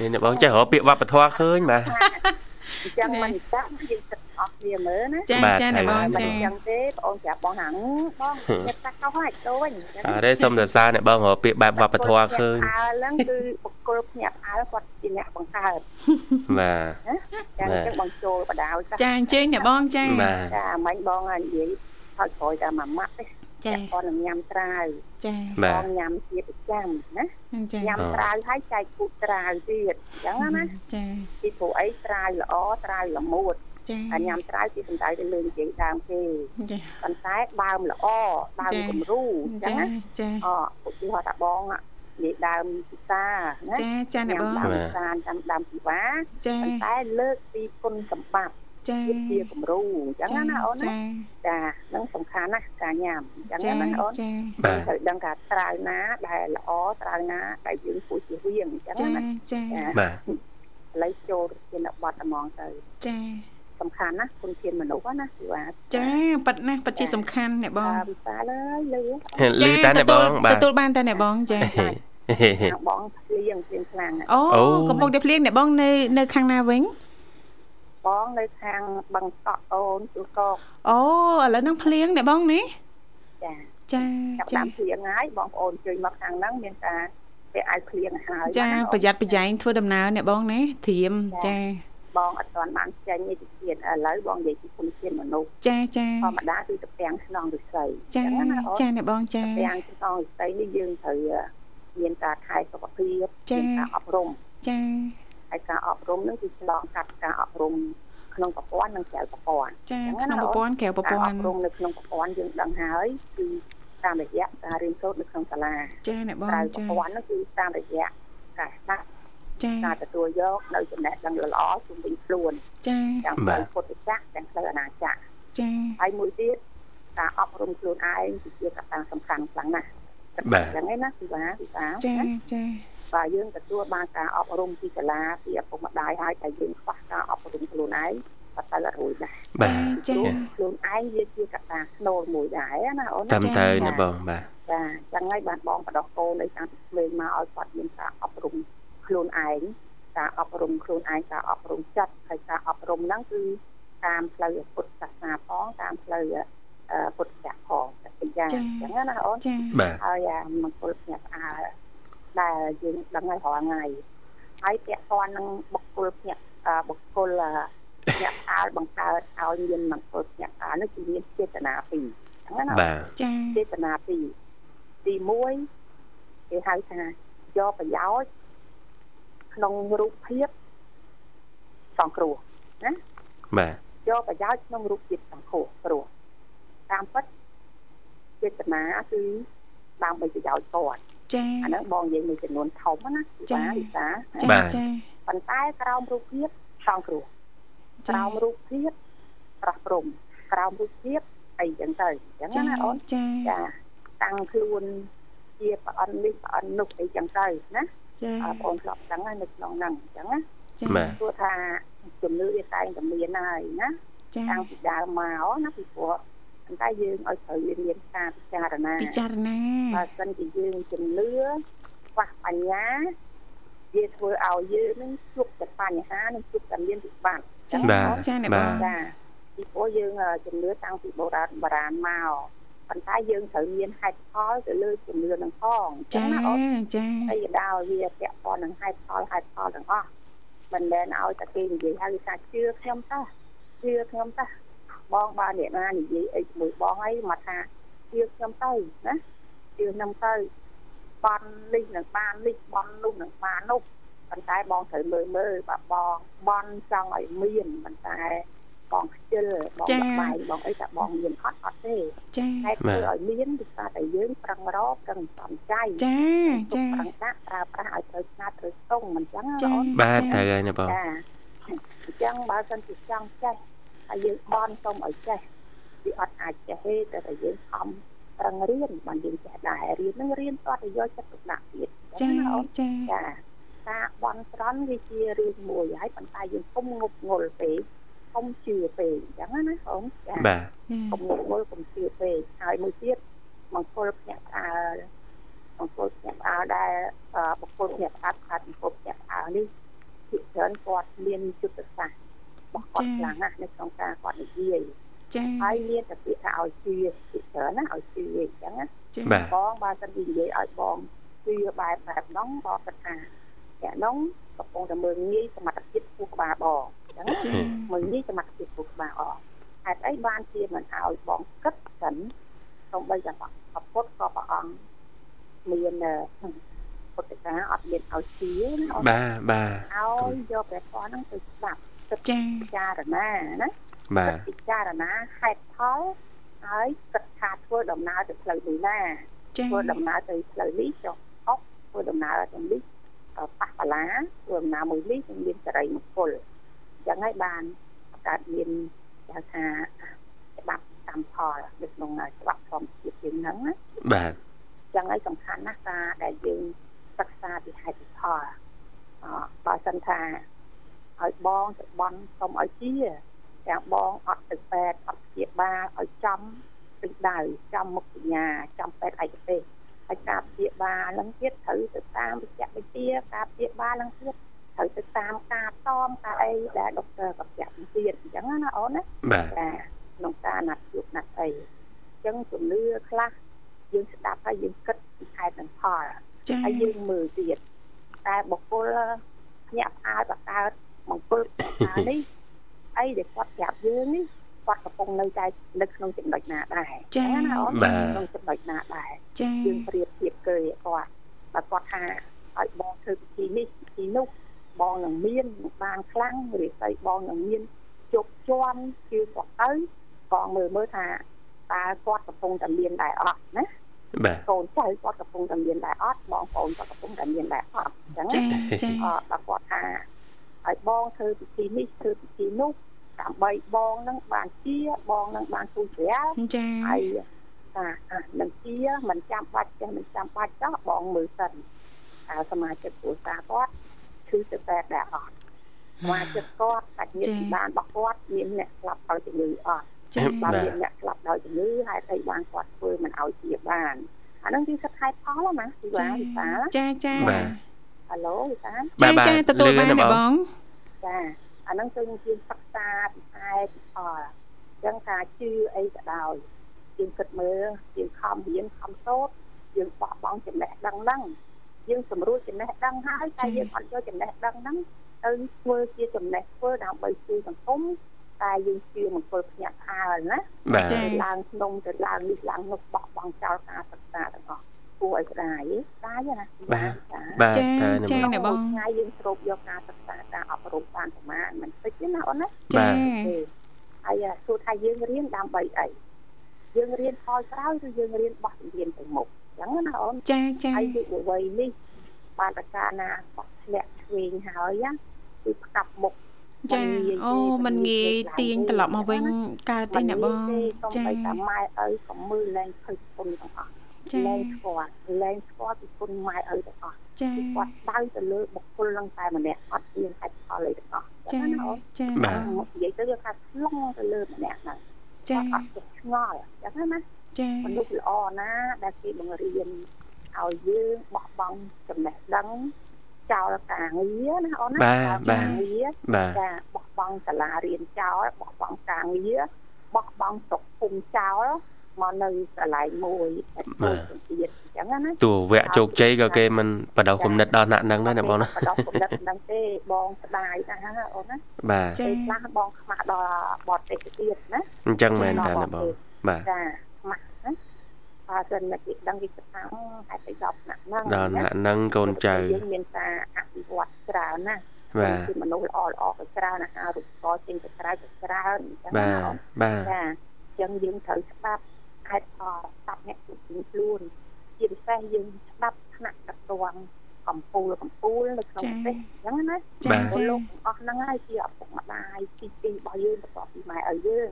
Speaker 4: អា
Speaker 3: នេះ
Speaker 4: នេះបង
Speaker 3: អ្នកបងចេះរកពាក្យវប្បធម៌ឃើញបាទ
Speaker 4: អញ្ចឹងមិនចាស់យើងគិតអស់គ្នាមើលណា
Speaker 1: ចា
Speaker 3: បាទ
Speaker 1: ចា
Speaker 3: ហើ
Speaker 1: អ្នក
Speaker 3: យ
Speaker 1: បង
Speaker 4: មិន
Speaker 1: ចា
Speaker 4: អញ្ចឹងទេបងប្រាប់បងហាងបងគិតតែកោហើយដូច
Speaker 3: អរេសុំសរសើរអ្នកបងរកពាក្យបែបវប្បធម៌ឃើញ
Speaker 4: អើហ្នឹងគឺបុគ្គលភ្នាក់អើគាត់ជាអ្នកបង្កើត
Speaker 3: បា
Speaker 4: ចាអញ្ចឹងបងចូលបដាវ
Speaker 1: ចាអញ្ជើញអ្នកបងចា
Speaker 3: ទបាទ
Speaker 4: ចាមិញបងហើយនិយាយថោចក្រោយតែមួយម៉ាត់ទេ
Speaker 1: ចា
Speaker 4: គាត់នឹងញ៉ាំត្រាវ
Speaker 1: ចា
Speaker 3: បាទ ទ
Speaker 4: ងញ៉ាំជាប្រចាំណា
Speaker 1: ចា
Speaker 4: ញ៉ាំត្រាវហើយចែកពូជត្រាវទៀតអញ្ចឹងណា
Speaker 1: ចា
Speaker 4: ពីព្រោះអីត្រាវល្អត្រាវល្មួត
Speaker 1: ចា
Speaker 4: ហើយញ៉ាំត្រាវគឺសំដៅទៅលើនិយាយដើមគេ
Speaker 1: ចា
Speaker 4: ប៉ុន្តែដើមល្អដើម
Speaker 1: ចា៎
Speaker 4: គំរូអញ្ចឹ
Speaker 1: ចា
Speaker 4: ងណា
Speaker 1: ចា
Speaker 4: អឧទាហរណ៍ថាបងនិយាយដើមពិសាណា
Speaker 1: ចាចាអ្នកបង
Speaker 4: ញ៉ាំដើមពិសាតាមដើមពិវ៉ា
Speaker 1: ចា
Speaker 4: ប៉ុន្តែលើកពីគុណសម្បត្តិ
Speaker 1: ចា
Speaker 4: វាជាគំរូអញ្ចឹងណាណាអូនណា
Speaker 1: ចា
Speaker 4: ចានឹងសំខាន់ណាស់ការញ៉ាំអញ្ចឹ
Speaker 1: ចា
Speaker 4: ងណាណាអូន
Speaker 1: ចា
Speaker 3: បាទ
Speaker 4: ត្រូវដឹងថាត្រាវណាដែលល្អត្រាវណាដែលយើងគួរជៀសវាងអញ្ចឹង
Speaker 1: ចា
Speaker 4: ណាណា
Speaker 1: ចា
Speaker 4: ចាឥ
Speaker 3: បាទ
Speaker 4: ឡូវចូលទៅជាបទហ្មងទៅ
Speaker 1: ចា
Speaker 4: សំខាន់ណាស់គុណធានមនុស្សណាគឺថា
Speaker 1: ចាប៉ិតណាស់ប៉ិតជាសំខាន់អ្នកបង
Speaker 4: វិសាលអើយលឺ
Speaker 3: លឺតាអ្នកបងបាទ
Speaker 1: ទទួលបានតាអ្នកបងចា
Speaker 3: ហេហេ
Speaker 4: ខាងបងភ្លៀងភ្លៀងខ្លាំងណាស់
Speaker 1: អូ
Speaker 3: អូ
Speaker 1: កំពុងតែភ្លៀងអ្នកបងនៅនៅខាងណាវិញ
Speaker 4: បងនៅខាងបឹងកក់អូនទូកក
Speaker 1: អូឥឡូវហ្នឹងភ្លៀងអ្នកបងនេះ
Speaker 4: ចា
Speaker 1: ចាចា
Speaker 4: ចាប់តាមភ្លៀងហើយបងប្អូនជួយមកខាងហ្នឹងមានការពាក់អាវភ្លៀងហើយ
Speaker 1: ចា
Speaker 4: ណា
Speaker 1: ប្រយ័ត្នប្រយែងធ្វើដំណើរអ្នកបងណាធៀមចា
Speaker 4: បងអត់ទាន់បានចេញនេះទៅទៀតឥឡូវបងនិយាយពីគុណធានមនុស្ស
Speaker 1: ចាចា
Speaker 4: ធម្មតាគឺតាពាំងស្នងឫស្សី
Speaker 1: ចា
Speaker 4: អញ្ណាអូន
Speaker 1: ចាអ្នកបងចា
Speaker 4: តាពាំងស្នងឫស្សីនេះយើងត្រូវមានការខែសុខភាព
Speaker 1: ចា៎
Speaker 4: មានការអប់រំ
Speaker 1: ចា
Speaker 4: ហើយការអប់រំហ្នឹងគឺឆ្លងកាត់ការអប់រំក្នុងប្រព័ន្ធនិងក្រៅប្រព័ន្ធ
Speaker 1: ចា
Speaker 4: អញ្ចឹង
Speaker 1: ក្នុង
Speaker 4: ណា
Speaker 1: ប្រព័ន្ធក្រៅប្រព័
Speaker 4: ការ
Speaker 1: ន្ធ
Speaker 4: អប់រំនៅក្នុងប្រព័ន្ធយើងដឹងហើយគឺតាមរយៈការរៀនសូត្រនៅក្នុងសាលា
Speaker 1: ចាអ្នកបង
Speaker 4: ក្រៅប្រ
Speaker 1: ចា
Speaker 4: ព័ន្ធនោះគឺតាមរយៈការស្ដាប់
Speaker 1: ចា
Speaker 4: ការទទួលយកនៅចំណេះដឹងល្អៗជុំវិញខ្លួន
Speaker 1: ចា
Speaker 4: ទាំងផ្លូវពុទ្ធចក្រទាំងផ្លូវអនាចក្រ
Speaker 1: ចា
Speaker 4: ហើយមួយទៀតការអប់រំខ្លួនឯងគឺជាកត្តាសំខាន់ខ្លាំងណាស់
Speaker 3: បាទ
Speaker 4: អញ្ចឹងឯណាគឺថាគឺថា
Speaker 1: ចាចា
Speaker 4: បើយើងទទួលបានការអប់រំពីសាលាពីឪពុកម្ដាយហើយតែយើងខ្វះការអប់រំខ្លួនឯងក៏ទៅរួចដែរ
Speaker 3: បាទ
Speaker 1: ចា
Speaker 3: ចា
Speaker 4: ខ្លួនឯងវាជាកត្តាស្នូលមួយដែរណាអូនណា
Speaker 3: តាមទៅអ្នកបងបាទ
Speaker 4: ចាចឹងហើយបានបងបដោះកូនឲ្យតាំងពីក្មេងមកឲ្យគាត់មានការអប់រំខ្លួនឯងការអប់រំខ្លួនឯងការអប់រំចិត្តហើយការអប់រំហ្នឹងគឺតាមផ្លូវពុទ្ធសាសនាផងតាមផ្លូវអឺពុទ្ធចក្រផងតែពីរយ៉ាងអញ្ចឹងណាអូន
Speaker 1: ចា
Speaker 3: បាទ
Speaker 4: ហើយអាមង្គលភ្នាក់ផ្អើលដែលយើងដឹងហើយរាល់ថ្ងៃហើយពាក់ព័ន្ធនឹងបុគ្គលភ្នាក់អឺបុគ្គលអឺភ្នាក់ផ្អើលបង្កើតឲ្យមានមង្គលភ្នាក់ផ្អើលនេះគឺមានចេតនាពីរអញ្ចឹងណាអូន
Speaker 3: បាទ
Speaker 1: ចា
Speaker 4: ចេតនាពីរទី1គេហៅថាយកប្រយោជន៍ក្នុងរូបភាពសង្គ្រោះ
Speaker 3: បាទ
Speaker 4: យកប្រយោជន៍ក្នុងរូបភាពសង្គ្រោះព្រោះតាមពិតចេតនាគឺដើម្បីប្រយោជន៍គាត់
Speaker 1: ចា
Speaker 4: អាហ្នឹងបងនិយាយមួយចំនួនធំណាចាវិសា
Speaker 1: ចាចា
Speaker 4: ប៉ុន្តែក្រោមរូបភាពសង្គ្រោះក្រោមរូបភាពប្រោះព្រំក្រោមរូបភាពអីចឹងទៅអញ្ចឹ
Speaker 1: ចា
Speaker 4: ងណាអូន
Speaker 1: ចា
Speaker 4: ចាតាំងខ្លួនជាប្រអិននេះប្រអិននោះអីចឹងទៅណា
Speaker 1: ចា
Speaker 4: អើបងឆ្លប់ចឹងហើយនៅក្នុងហ្នឹងអញ្ចឹងណា
Speaker 1: ចា
Speaker 3: បាទ
Speaker 4: ព្រោះថាជំនឿវាតែងតែមានហើយណា
Speaker 1: ចា
Speaker 4: តាំងពីដើមមកណាពីព្រោះប៉ុន្តែយើងឲ្យត្រូវរៀនមានការពិចារណា
Speaker 1: ពិចារណា
Speaker 4: បើសិនជាយើងជំនឿខ្វះបញ្ញាវាធ្វើឲ្យយើងនឹងជួបតែបញ្ហានឹងជួបតែមានវិបត្តិ
Speaker 1: ចា
Speaker 3: បាទ
Speaker 1: ចាអ្នក
Speaker 3: បា
Speaker 1: បង
Speaker 3: ទ
Speaker 4: ចាពីព្រោះយើងអឺជំនឿតាំងពីបុរាណបុរាណមក ប៉ុន្តែយើងត្រូវមានហេតុផលទៅលើជំនឿនឹងផង
Speaker 1: ចា
Speaker 4: ណាអូន
Speaker 1: ចា
Speaker 4: ហើយយដាលវាពាក់ព័ន្ធនឹងហេតុផលហេតុផលទាំងអស់មិនមែនឲ្យតែគេនិយាយហើយគេថាជឿខ្ញុំតើជឿខ្ញុំតើបងបានអ្នកណានិយាយអីជាមួយបងហើយមកថាជឿខ្ញុំទៅណាជឿខ្ញុំទៅបនលិះនឹងបានលិះបននោះនឹងបាននោះប៉ុន្តែបងត្រូវមើលមើលបាទបងបនចង់ឲ្យមានប៉ុន្តែបងខ្ជិលបងល្បាយបងអីតែបងមានអត់អត់ទេ
Speaker 1: ចា
Speaker 4: ហេតុធ្វើឲ្យមានគឺថាតែយើងប្រឹងរកប្រឹងសំចៃ
Speaker 1: ចាចា
Speaker 4: ប្រឹងដាក់ប្រើប្រាស់ឲ្យត្រូវស្នាតត្រូវស្ទង់មិនចឹងណា
Speaker 1: ចា
Speaker 4: អូន
Speaker 3: បាទទៅហើយណាបង
Speaker 4: ចាអញ្ចឹងបើសិនជាចង់ចេះហើយយើងបនសូមឲ្យចេះវាអត់អាចចេះទេតែតែយើងខំប្រឹងរៀនបានយើងចេះដែររៀននឹងរៀនស្ទាត់ឲ្យយកចិត្តទុកដាក់ទៀត
Speaker 1: ចា
Speaker 4: ណាអូន
Speaker 1: ចា
Speaker 4: ចាការបន់ស្រន់វាជារឿងមួយហើយប៉ុន្តែយើងគុំងប់ងល់ពេកគុំជឿពេកអញ្ចឹងណាអូនចា
Speaker 3: បាទ
Speaker 4: គុំងប់ងល់គុំជឿពេកហើយមួយទៀតមង្គលភ្នាក់ផ្អើលមង្គលភ្នាក់ផ្អើលដែលអឺបុគ្គលភ្នាក់ផ្អាត់ផ្អាត់មង្គលភ្នាក់ផ្អើលនេះជាច្រើនគាត់មានយុទ្ធសាស្ត្ររបស់គាត់ខ្លាំងណាស់នៅក្នុងការគាត់និយាយ
Speaker 1: ចា
Speaker 4: ហើយមានតែពាក្យថាឲ្យជឿជាច្រើនណាឲ្យជឿអញ្ចឹងណា
Speaker 1: ចា
Speaker 3: បាទ
Speaker 4: បងបើសិនជានិយាយឲ្យបងគឺបែបបែបហ្នឹងបងគិតថាអ្នកហ្នឹងកំពុងតែមើលងាយសមត្ថភាពពោះក្បាលបងអញ្ចឹង
Speaker 1: ចា
Speaker 4: មើលងាយសមត្ថភាពពោះក្បាលអស់ហេតុអីបានជាមិនឲ្យបងគិតសិនសូម្បីតែប្រពុតក៏ព្រះអង្គមានអឺពុទ្ធិកាអត់មានឲ្យជឿណាអត់
Speaker 3: បាទបាទ
Speaker 4: ឲ្យយកព្រះធម៌ហ្នឹងទៅស្ដាប់
Speaker 1: ចា
Speaker 4: ពិចារណាណា
Speaker 3: បាទ
Speaker 4: ពិចារណាហេតុផលហើយគិតថាធ្វើដំណើរទៅផ្លូវនេះណា
Speaker 1: ចា
Speaker 4: ធ្វើដំណើរទៅផ្លូវនេះចុះអុកធ្វើដំណើរទៅនេះអឺប៉ះបលាធ្វើដំណើរមួយនេះគឺមានចរិយមង្គលអញ្ចឹងហើយបានកើតមានហៅថាច្បាប់កម្មផលនៅក្នុងច្បាប់ធម្មជាតិយើងហ្នឹងណា
Speaker 3: បាទ
Speaker 4: ចឹងហើយសំខាន់ណាស់ការដែលយើងសិក្សាពីហេតុផលអឺបើសិនថាឲ្យបងទៅបន់សុំឲ្យជាទាំងបងអត់ទៅពេទ្យអត់ព្យាបាលឲ្យចំពេញដៅចំមុខវិញ្ញាចំពេទ្យឯកទេសហើយការព្យាបាលហ្នឹងទៀតត្រូវទៅតាមវិជ្ជាវិទ្យាការព្យាបាលហ្នឹងទៀតត្រូវទៅតាមការតមការអីដែលដុកទ័រក៏ប្រាប់ទៀតអញ្ចឹងណាអូនណា
Speaker 3: បាទ
Speaker 4: ចាក្នុងការណាត់ជួបណាត់អីអញ្ចឹងជំនឿខ្លះយើងស្ដាប់ហើយយើងគិតពីខែតនិងផល
Speaker 1: ចា
Speaker 4: ហើយយើងមើលទៀតតែបុគ្គលភ្នាក់ផ្អើលបកើតមង្គលផ្អើលនេះអីដែលគាត់ប្រាប់យើងនេះគាត់កំពុងនៅតែនៅក្នុងចំណុចណាដែរហ្នឹងណាអូនក្នុងចំណុចណាដែរ
Speaker 1: ចា
Speaker 4: យើងប្រៀបធៀបគេគាត់បើគាត់ថាឲ្យបងធ្វើពិធីនេះពិធីនោះបងនឹងមាននឹងបានខ្លាំងរាសីបងនឹងមានជោគជន់ជឿគាត់ទៅបងមើលមើលថាតើគាត់កំពុងតែមានដែរអត់ណា
Speaker 3: បាទ
Speaker 4: កូនចៅគាត់កំពុងតែមានដែរអត់បងប្អូនគាត់កំពុងតែមានដែរអត់អញ្ចឹង
Speaker 1: ចា
Speaker 4: ណា
Speaker 1: ចា
Speaker 4: អត់បើគាត់ថាឲ្យបងធ្វើពិធីនេះធ្វើពិធីនោះដើម្បីបងនឹងបានជាបងនឹងបានពូជ្រាវ
Speaker 1: ចា
Speaker 4: ហើយថាអះនឹងជាមិនចាំបាច់ចេះមិនចាំបាច់ចោះបងមើលសិនអើសមាជិកគ្រួសារគាត់ឈឺទៅតែដែរអត់សមាជិកគាត់សាច់ញាតិបានរបស់គាត់មានអ្នកស្លាប់ដោយជំងឺអត់
Speaker 1: ចា
Speaker 4: បើមានអ្នកស្លាប់ដោយជំងឺហេតុអីបានគាត់ធ្វើមិនឲ្យជាបានអាហ្នឹងគឺសិតខែផលណាវិវាវិសា
Speaker 1: ចាចា
Speaker 4: ហៅឡូវិសា
Speaker 1: ចាចាទទួលបានណាបង
Speaker 4: ចាអាហ្នឹងគឺយើងសិក្សាពីខែពីផលអញ្ចឹងការជឿអីក៏ដោយយើងគិតមើលយើងខំរៀនខំសូត្រយើងបោះបង់ចំណេះដឹងហ្នឹងយើងសម្រួលចំណេះដឹងហើយតែ
Speaker 1: ចា៎
Speaker 4: យើងអត់យកចំណេះដឹងហ្នឹងទៅធ្វើជាចំណេះធ្វើដើម្បីជួយសង្គមតែយើងជឿមង្គលភ្នាក់ផ្អើលណា
Speaker 3: បាទ
Speaker 1: ចា
Speaker 4: ទៅឡើងភ្នំទៅឡើងនេះឡើងនោះបោះបង់ចោលការសិក្សាទាំងអស់គួរឲ្យស្ដាយឯងស្ដាយណា
Speaker 3: បាទ
Speaker 4: ចា៎
Speaker 3: បាទ
Speaker 1: ចា
Speaker 3: ទៅណា
Speaker 1: ចា
Speaker 3: បង
Speaker 1: អ្នកបង
Speaker 4: មួយថ្ងៃយើងស្រូបយកការសិក្សាការអប់រំបានប្រមាណមិនតិចទេណាអូនណា
Speaker 1: ចា
Speaker 4: ទេហើយសួរថាយើងរៀនដើម្បីអីយើងរៀនផលក្រោយឬយើងរៀនបោះជំនាញទៅមុខអញ្ចឹងណាអូន
Speaker 1: ចាចា
Speaker 4: ហើយយុវវ័យនេះបានតកាលណាបោះធ្លាក់ឆ្វេងហើយណាគឺផ្កាប់មុខ
Speaker 1: ចាអូมันងាយទាញត្រឡប់មកវិញកើតទេណាបង
Speaker 4: ចា
Speaker 1: ចា
Speaker 4: តែម៉ែឪក៏មើលឡើងឃើញគុណទាំងអស់
Speaker 1: ចា
Speaker 4: ឡើងស្គាល់ឡើងស្គាល់ពីគុណម៉ែឪទាំងអស់
Speaker 1: ចា
Speaker 4: គឺគាត់ដៅទៅលើបុគ្គលហ្នឹងតែម្នាក់អត់មានហេតុផលអីទាំងអស់
Speaker 1: ចា
Speaker 4: ណាអូន
Speaker 1: ចា
Speaker 3: បាទ
Speaker 4: និយាយទៅគឺថាឆ្លងទៅលើម្នាក់ហ្នឹង
Speaker 1: ចា
Speaker 4: គាត់អត់ចេះឆ្ងល់ចឹងណា
Speaker 1: ចា
Speaker 4: មនុស្សល្អណាដែលគេបង្រៀនឲ្យយើងបោះបង់ចំណេះដឹងចោលការងារណាអូនណា
Speaker 3: បាទ
Speaker 4: ចោល
Speaker 3: បាទ
Speaker 4: ការងារ
Speaker 3: បាទ
Speaker 4: ចាបោះបង់សាលារៀនចោលបោះបង់ការងារបោះបង់ស្រុកភូមិចោល មកនៅកន្លែងមួយមួយទៀតអញ្ចឹងណា
Speaker 3: តួវៈជោគជ័យក៏គេមិនបដោះគំនិតដល់អ្នកហ្នឹងដែរណាបងណា
Speaker 4: បដោះគំនិតហ្នឹងទេបងស្ដាយណាស់ណាអូនណា
Speaker 3: បាទ
Speaker 1: ចា
Speaker 4: ពេលខ្លះបងខ្មាស់ដល់បតទេសទៀតណា
Speaker 3: អញ្ចឹងមែនតាណាបងបាទ
Speaker 4: ចាខ្មាស់ណាបើសិនមកគេដឹងគេស្ថាហេតុអីដល់ណាស់ហ្នឹង
Speaker 3: ដល់អ្នកហ្នឹងកូនចៅ
Speaker 4: យើងមានការអភិវឌ្ឍច្រើនណាស់
Speaker 3: បាទ
Speaker 4: គឺមនុស្សល្អល្អក៏ច្រើនអាហាររូបករណ៍ចេញទៅក្រៅក៏ច្រើនអញ្ចឹង
Speaker 3: បា
Speaker 4: ណា
Speaker 3: ទ
Speaker 4: អូន
Speaker 3: បាទ
Speaker 4: ចាអញ្ចឹងយើងត្រូវស្ដាប់ខិតអស្ដាប់អ្នកជំនាញខ្លួនជាពិសេសយើងស្ដាប់ថ្នាក់កតងកម្ពូលកម្ពូលនៅក្នុងប្រទេសអញ្ចឹងណា
Speaker 1: ចា
Speaker 4: ពល
Speaker 1: ចា
Speaker 4: លោកទាំងអស់ហ្នឹងហើយជាឪពុកម្ដាយទីទីរបស់យើងបន្ទាប់ពីម៉ែឪយើង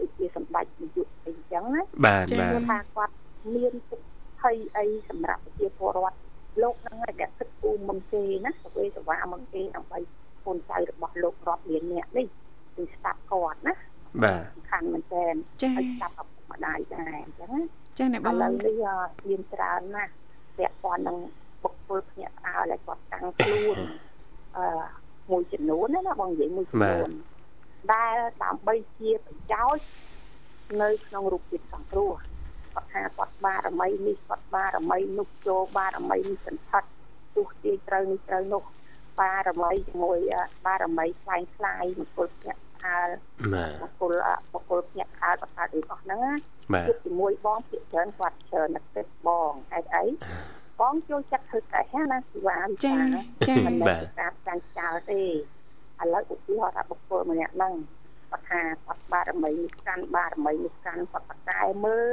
Speaker 4: ដូចជាសម្ដេចនាយកអីអញ្ចឹងណា
Speaker 3: បាទបាទ
Speaker 4: គឺថាគាត់មានទុក្ខ័យអីសម្រាប់ប្រជាពលរដ្ឋលោកហ្នឹងហើយដែលគិតគូរមុនគេណាទៅវេសវាមុនគេដើម្បីកូនចៅរបស់លោករាប់លានអ្នកនេះគឺស្ដាប់គាត់ណា
Speaker 3: បាទ
Speaker 4: សំខាន់មែនទែន
Speaker 1: ចា
Speaker 4: ឲ្យចាប់ឪពុកម្ដាយដែរអញ្ចឹងណា
Speaker 1: ចាអ្នកប
Speaker 4: ឥ
Speaker 1: ង
Speaker 4: ឡូវនេះអឺមានច្រើនណាស់ពាក់ព័ន្ធនឹងបុគ្គលភ្នាក់ផ្អើលឲ្យគាត់តាំងខ្លួនអឺមួយចំនួនណាណាបងនិយាយមួយចំនួនដែលដើម្បីជាប្រយោជន៍នៅក្នុងរូបភាពសង្គ្រោះគាត់ថាគាត់បារមីនេះគាត់បារមីនោះចូលបារមីនេះសន្ធិដ្ឋទោះជាត្រូវនេះត្រូវនោះបារមីជាមួយអឺបារមីខ្លាំងខ្លាយបុគ្គលភ្នាក់ផ្អើល
Speaker 3: បាទ
Speaker 4: បុគ្គលអឺបុគ្គលភ្នាក់ផ្អើលបង្កើតរបស់ហ្នឹងណា
Speaker 3: បាទ
Speaker 4: គិតជាមួយបងភាគច្រើនគាត់ច្រើននឹកទឹកបងអីអីបងចូលចិត្តធ្វើតែហ្នឹងណាសិវាវិ
Speaker 1: ចា
Speaker 4: សា
Speaker 1: ចា
Speaker 4: មិន
Speaker 3: បា
Speaker 4: មែ
Speaker 3: ទ
Speaker 4: នការចាញ់ចាលទេឥឡូវឧទាហរណ៍ថាបុគ្គលម្នាក់ហ្នឹងគាត់ថាគាត់បារមីនេះកាន់បារមីនេះកាន់គាត់ប្រកែមើល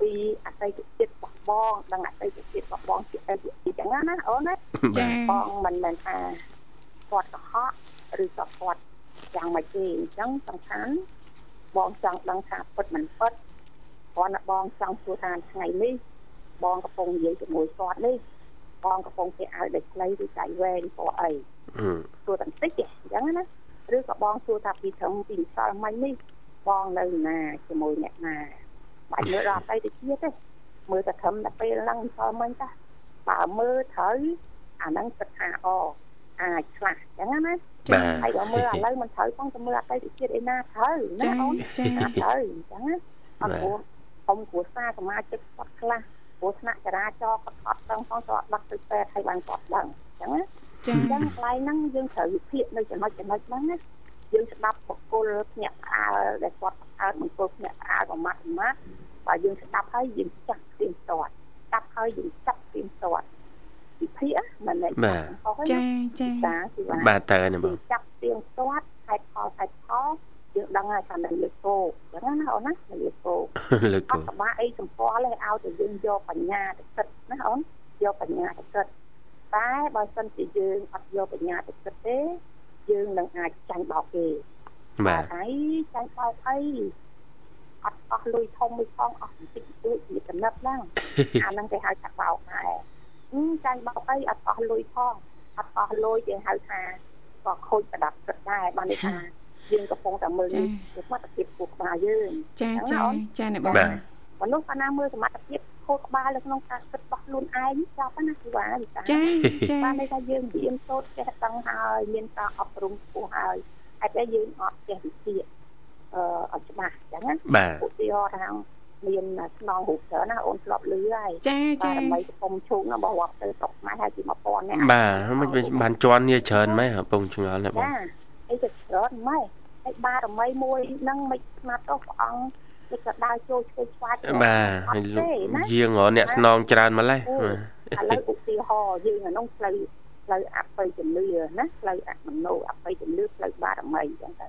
Speaker 4: ពីអតីតជាតិរបស់បងដឹងអតីតជាតិរបស់បងជាអីជាអីចឹងណាណាអូនណា
Speaker 3: បា
Speaker 1: ចា
Speaker 3: ទ
Speaker 4: បងមិនមែនថាគាត់កុហកឬក៏គាត់យ៉ាងម៉េចទេអញ្ចឹងសំខាន់បងចង់ដឹងថាពិតមិនពិតគ្រាន់តែបងចង់សួរថាថ្ងៃនេះបងកំពុងនិយាយជាមួយគាត់នេះបងកំពុងគេឲ្យដេកខ្លីឬដៃវែងព្រោះអី
Speaker 3: ហឹម
Speaker 4: សួរតែបន្តិចទេអញ្ចឹងណាឬក៏បងសួរថាពីត្រឹមពីម្សិលមិញនេះបងនៅណាជាមួយអ្នកណាបាច់មើលដល់អីទៅទៀតទេមើលតែត្រឹមតែពេលហ្នឹងម្សិលមិញតាបើមើលត្រូវ អាហ្នឹងគិតថាអអាចឆ្លាស់អញ្ចឹងណា
Speaker 3: បាទ
Speaker 4: ហើយដល់មើលឥឡូវមិនត្រូវផងទៅមើលអតីតជាតិឯណាត្រូវណា
Speaker 1: ចា
Speaker 4: អូន
Speaker 1: ចា
Speaker 4: ណាត្រូវអញ្ចឹងណាអត់
Speaker 3: បាទ
Speaker 4: ព្រោះខ្ញុំគ្រួសារសមាជិកគាត់ខ្លះព្រោះថ្នាក់ចរាចរណ៍គាត់អត់ដឹងផងគាត់ដាក់ទៅពេទ្យឲ្យបានគាត់ដឹងអញ្ចឹងណា
Speaker 1: ចា
Speaker 4: អញ្ចឹងកន្លែងហ្នឹងយើងត្រូវវិភាគនៅចំណុចចំណុចហ្នឹងណាយើងស្ដាប់បុគ្គលភ្នាក់ផ្អើលដែលគាត់ផ្អើលបុគ្គលភ្នាក់ផ្អើលប្រមាត់ប្រមាត់បើយើងស្ដាប់ហើយយើងចាក់ទៀមទាត់ស្ដាប់ហើយយើងចាក់ទៀមទាត់វិភាគណាមិនមែន
Speaker 3: បាទ
Speaker 4: ខុសទេ
Speaker 1: ចា
Speaker 4: ណា
Speaker 1: ចា
Speaker 4: ចាគឺថា
Speaker 3: បាទតើណាប
Speaker 4: យើងងចាក់ទៀមទាត់ខែតផលខែតផលយើងដឹងហើយថានៅលើគោកអញ្ចឹងណាអូនណានៅលើគោក
Speaker 3: លើក
Speaker 4: អ
Speaker 3: គូ
Speaker 4: ត់សបាអីចំពាល់ទេឲ្យតែយើងយកបញ្ញាទៅគិតណាអូនយកបញ្ញាទៅគិតតែបើសិនជាយើងអត់យកបញ្ញាទៅគិតទេ យើងនឹងអាចចាញ់បោកគេ
Speaker 3: បាទ
Speaker 4: អីចាញ់បោកអីអត់អស់លុយធំមួយផងអស់បន្តិចបន្តួចវាកំណត់ឡើង អាហ្នឹងគេហៅថាបោកដែរអឺចាញ់បោកអីអត់អស់លុយផងអត់អស់លុយគេហៅថាក៏ខូចប្រដាប់គិតដែរបានន័យថាយើងកំពុងតែមើលនេះជាសមត្ថភាពគូក្បាលយើង
Speaker 1: ចាចាចាអ្នកបង
Speaker 3: បាទ
Speaker 4: មនុស្សកាលណាមើលសមត្ថភាពខួរក្បាលនៅក្នុងការគិតរបស់ខ្លួនឯងចាប់ណាគឺថាវិសា
Speaker 1: ចាចា
Speaker 4: បានន័យថាយើងរៀនសូត្រចេះដឹងហើយមានការអប់រំខ្ពស់ហើយហេតុតែយើងអត់ចេះវិទ្យាអឺអត់ច្បាស់អញ្ចឹងណា
Speaker 3: បាទ
Speaker 4: ឧទាហរណ៍ថាមានស្នងរូបច្រើនណាអូនធ្លាប់លឺហើយ
Speaker 1: ចា
Speaker 4: តែ
Speaker 1: ចា
Speaker 4: ដើម្បីកុំឈូងណាបើរាប់ទៅຕົកម៉ែហើយជា1000នាក់
Speaker 3: បាទមិនបានជន់នេះច្រើនម៉េចហ៎បងឆ្ងល់ណាបង
Speaker 4: ចាអីទៅច្រើនម៉េចហើយបារមីមួយហ្នឹងមិនស្មាត់ទៅព្រះអង្គដូចក៏ដើរចូលឆ្វេងឆ្វាយទៅ
Speaker 3: បាទ
Speaker 4: អ
Speaker 3: ហើយ
Speaker 4: ត់
Speaker 3: លោក
Speaker 4: ទេណា
Speaker 3: យាងរកអ្នកស្នងច្រើនម្ល៉េះ
Speaker 4: អូឥឡូវឧទាហរណ៍យើងអានោះផ្លូវផ្លូវអបិយជំនឿណាផ្លូវអមនោអបិយជំនឿផ្លូវបារមីអញ្ចឹងទៅ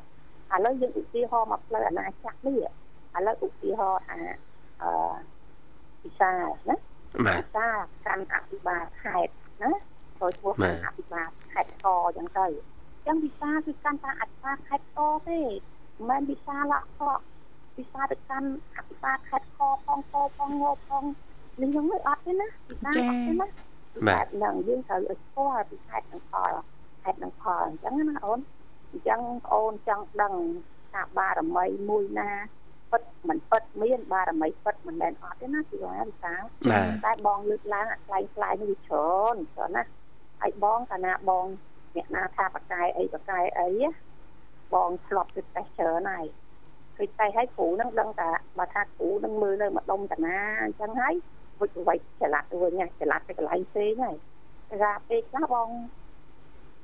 Speaker 4: ឥឡូវយើងឧទាហរណ៍មកផ្លូវអាណាចក្រនេះឥឡូវឧទាហរណ៍អាអឺពិសាលណា
Speaker 3: បាទ
Speaker 4: ពិសាលកាន់អភិបាលខេត្តណាចូលឈ្មោះ
Speaker 3: បាទ
Speaker 4: អភិបាលខេត្តកអញ្ចឹងទៅអញ្ចឹងពិសាលគឺកាន់តាអភិបាលខេត្តកទេមិនមែនពិសាលអខកពិសាលទៅកាន់អភិបាលខេត្តកផងកផងងផងនេះហ្នឹងមិនអត់ទេណាពិសាលអត់ទេណា
Speaker 3: បាទ
Speaker 4: ហ្នឹងយើងត្រូវឲ្យស្គាល់ពីខេត្តនិងផលខេត្តនិងផលអញ្ចឹងណាអូនអញ្ចឹងបងអូនចង់ដឹងថាបារមីមួយណាពិតមិនពិតមានបារមីពិតមិនមែនអត់ទេណាពីរណាវិសាល
Speaker 3: បាទ
Speaker 4: តែបងលើកឡើងអាខ្លាំងខ្លាយនេះវាច្រើនច្រើនណាស់ហើយបងកាលណាបងអ្នកណាថាបកកាយអីបកកាយអីហ៎បងធ្លាប់ទៅតេស្តច្រើនហើយ ដូច្នេះហើយគ្រូនឹងដឹងថាបើថាគ្រូនឹងមើលនៅម្ដុំតាណាអញ្ចឹងហើយវិជ្ជវ័យចល័តវិញណាចល័តទៅកន្លែងផ្សេងហើយថាពេលខ្លះបង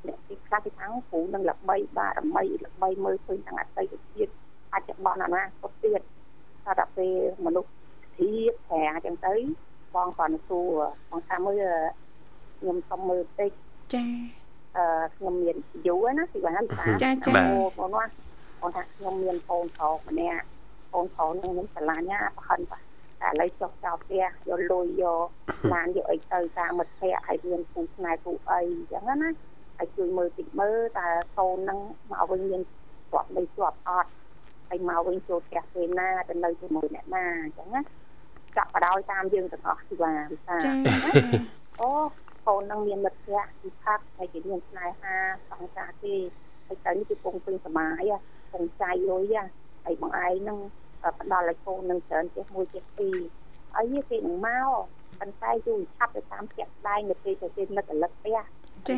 Speaker 4: អ្នកទីខ្លះទីខាងគ្រូនឹងល្បីបារមីល្បីមើលឃើញទាំងអតីតជាតិបច្ចុប្បន្នអនាគតទៀតថាដល់ពេលមនុស្សធាតប្រាអញ្ចឹងទៅបងគាត់នឹងសួរបងថាមើលខ្ញុំសុំមើលតិច
Speaker 1: ចា
Speaker 4: អឺខ្ញុំមានយូរហើយណាពីបានថា
Speaker 1: ចាចា
Speaker 3: បាទ
Speaker 4: បងណាបងថាខ្ញុំមានកូនប្រុសម្នាក់កូនប្រុសនឹងខ្ញុំស្រឡាញ់ណាប្រហិនបាទតែឥឡូវចុះចោលផ្ទះយកលុយយកឡានយកអីទៅតាមមិត្តភ័ក្តិឲ្យមានគូស្នេហ៍គូអីអញ្ចឹងណាហើយជួយមើលតិចមើលតើកូននឹងមកវិញមានជាប់ដីជាប់អត់ហើយមកវិញចូលផ្ទះពេលណាទៅនៅជាមួយអ្នកណាអញ្ចឹងណាចាប់បដ ாய் តាមយើងទាំងអស់ទីបានថា
Speaker 1: ចា
Speaker 4: អូកូននឹងមានមិត្តភ័ក្តិពីផាក់ហើយគេមានស្នេហាសង្សារគេហើយទៅនេះគឺពងពេញសមាយពងចៃលុយហ่ะហើយបងឯងនឹងផ្ដល់ឲ្យកូននឹងច្រើនចេះមួយចេះពីរហើយនេះគេនឹងមកប៉ុន្តែយូរឆាប់ទៅតាមជាក់ស្ដែងនៅពេលទៅគេនឹករលឹកផ្ទះ
Speaker 1: ចា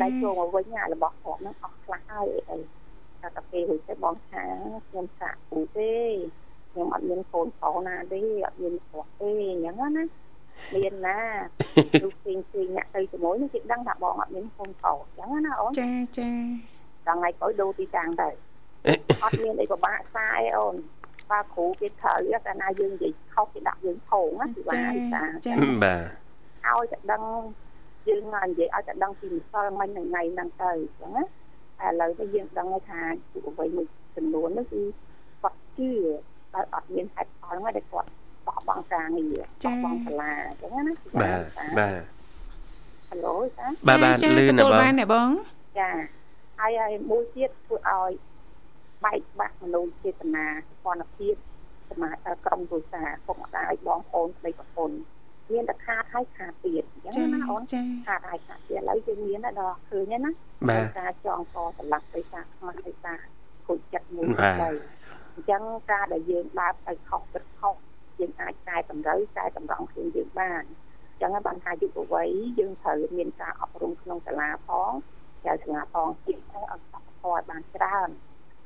Speaker 4: តែចូលមកវិញអារបស់គាត់នឹងអស់ខ្លះហើយអីអីតែតែពេលហ្នឹងទៅបងថាខ្ញុំសាក់ពូទេខ្ញុំអត់មានកូនប្រុសណាទេអត់មានប្រុសទេអញ្ចឹងណាមានណា លោកផ្សេងផ្សេងអ្នកទៅជាមួយនឹងគេដឹងថាបងអត់មានកូនប្រុសអញ្ចឹងណាអូន
Speaker 1: ចាចា
Speaker 4: ដល់ថ្ងៃក្រោយដូរទីតាំងទៅអត់មានអីពិបាកខ្សែអូនបើគ្រូគេត្រូវតែណាយើងនិយាយខុសគេដាក់យើងខងណាពិបា
Speaker 1: ចា
Speaker 4: កឯតា
Speaker 1: ចា
Speaker 3: បាទ
Speaker 4: ឲ្យតែដឹងយើងណានិយាយឲ្យតែដឹងពីម្សិលមិញនឹងថ្ងៃហ្នឹងទៅអញ្ចឹងណាតែឥឡូវនេះយើងដឹងហើយថាយុវវ័យមួយចំនួននោះគឺគាត់ជឿតែអត់មានហេតុផលហ្នឹងឯងគាត់បោះបង់ការងារបោះបង់សាលាអញ្ចឹងណាពិ
Speaker 3: បាទ
Speaker 4: ឯតា
Speaker 3: បាទ
Speaker 4: ហៅអូយតា
Speaker 3: បាទបាទ
Speaker 1: ចា
Speaker 3: លឺណា
Speaker 1: ទទួល
Speaker 3: បង
Speaker 1: បានណាបង
Speaker 4: ចាហើយហើយមួយទៀតធ្វើឲ្យបែកបាក់មនុស្សចេតនាសន្តិភាពសមាជិកក្រុមគ្រួសារពុកម្ដាយបងប្អូនប្តីប្រពន្ធមានតែខាតហើយខាតទៀតអញ្ចឹ
Speaker 1: ចា
Speaker 4: ងណាអូន
Speaker 1: ចា
Speaker 4: ខាតហើយខាតទៀតឥឡូវយើងមានដល់ឃើញហើយណា
Speaker 3: បាទ
Speaker 4: ការចងកសន្លឹកដោយសារខ្មាស់ដោយសារគុជចិត្តមួយ
Speaker 3: បាទ
Speaker 4: ទៅអញ្ចឹងការដែលយើងដើរទៅខុសទៅខុសយើងអាចកែតម្រូវកែតម្រង់ខ្លួនយើងបានអញ្ចឹងហើយបានថាយុវវ័យយើងត្រូវមានការអប់រំក្នុងសាលាផងចៅសាលាផងទៀតឲ្យអត់ប្រព័ន្ធបានច្រើន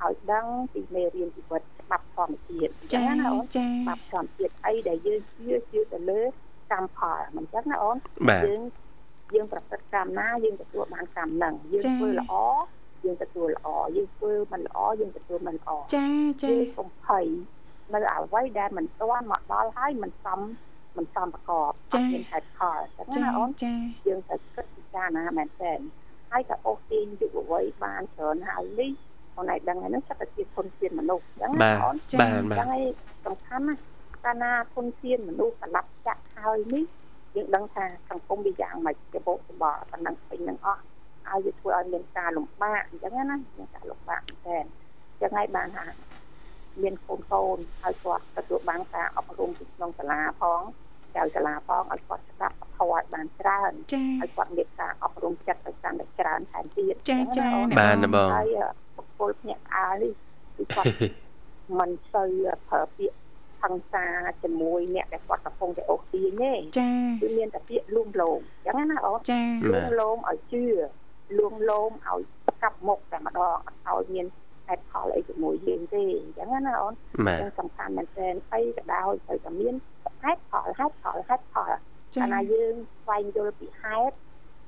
Speaker 4: ឲ្យដឹងពីមេរៀនជីវិតច្បាប់ធម្មជាតិអញ្ចឹ
Speaker 1: ចា
Speaker 4: ងណាអូន
Speaker 1: ចា
Speaker 4: ច្បាប់ធម្មជាតិអីដែលយើងជឿជឿទៅលើកម្មផលមិនអញ្ចឹងណាអូន
Speaker 3: បាទ
Speaker 4: យើងយើងប្រព្រឹត្តកម្មណាយើងទទួលបានកម្មហ្នឹងយើងធ្វើល្អយើងទទួលល្អយើងធ្វើមិនល្អយើងទទួលមិនល្អ
Speaker 1: ចាចា
Speaker 4: យើងកំភៃនៅអ្វីដែលមិនទាន់មកដល់ហើយមិនសមមិនសមប្រកបអត់មានហេតុផលអញ្ចឹង
Speaker 1: ចា
Speaker 4: ណាអូន
Speaker 1: ចា
Speaker 4: យើងត្រូវគិតពិចារណាមែនទែនហើយក៏អូសទាញយុវវ័យបានច្រើនហើយនេះខ្លួនឯងដឹងហើយហ្នឹងចិត្តជាធនធានមនុស្សអញ្ចឹង
Speaker 3: បា
Speaker 4: ណា
Speaker 3: ទ
Speaker 4: អូន
Speaker 3: បាទបាទ
Speaker 4: ចឹងឯងសំខាន់ណាកាលណាធនធានមនុស្សប្រឡាប់ចាក់ហើយនេះយើងដឹងថាសង្គមវាយ៉ាងម៉េចប្រពោសម្បល់ប៉ុណ្ណឹងពេញនឹងអស់ហើយវាធ្វើឲ្យមានការលំបាកអញ្ចឹងណាមានការលំបាកមែនទែនអញ្ចឹងហើយបានថាមានកូនកូនហើយគាត់ទទួលបានការអប់រំពីក្នុងសាលាផងចៅសាលាផងឲ្យគាត់ស្ដាប់ធម៌ឲ្យបានច្រើន
Speaker 1: ចា
Speaker 4: ហើយគាត់មានការអប់រំចិត្តឲ្យកាន់តែច្រើនថែមទៀត
Speaker 1: ចាចា
Speaker 4: អញ្
Speaker 3: បាទណា
Speaker 4: ណា
Speaker 3: ប
Speaker 4: អូ
Speaker 3: ង
Speaker 4: នហើយបុគ្គលភ្នាក់ផ្អើលនេះគឺគាត់ មិនទៅប្រើពាក្យហិង្សាជាមួយអ្នកដែលគាត់កំពុងតែអូសទាញទេ
Speaker 1: ចា
Speaker 4: គឺមានតែពាក្យលួងលោមអញ្ចឹងណាអូន
Speaker 1: ចា
Speaker 3: បាទ
Speaker 4: លួងលោមឲ្យជឿលួងលោមឲ្យកັບមុខតែម្ដងអត់ឲ្យមានហេតុផលអីជាមួយយើងទេអញ្ចឹងណាអូន
Speaker 3: បាទ
Speaker 4: គឺសំខាន់មែនទែនអីក៏ដោយត្រូវតែមានហេតុផលហេតុផលហេតុផល
Speaker 1: ចា
Speaker 4: តែណាយើងស្វែងយល់ពីហេតុ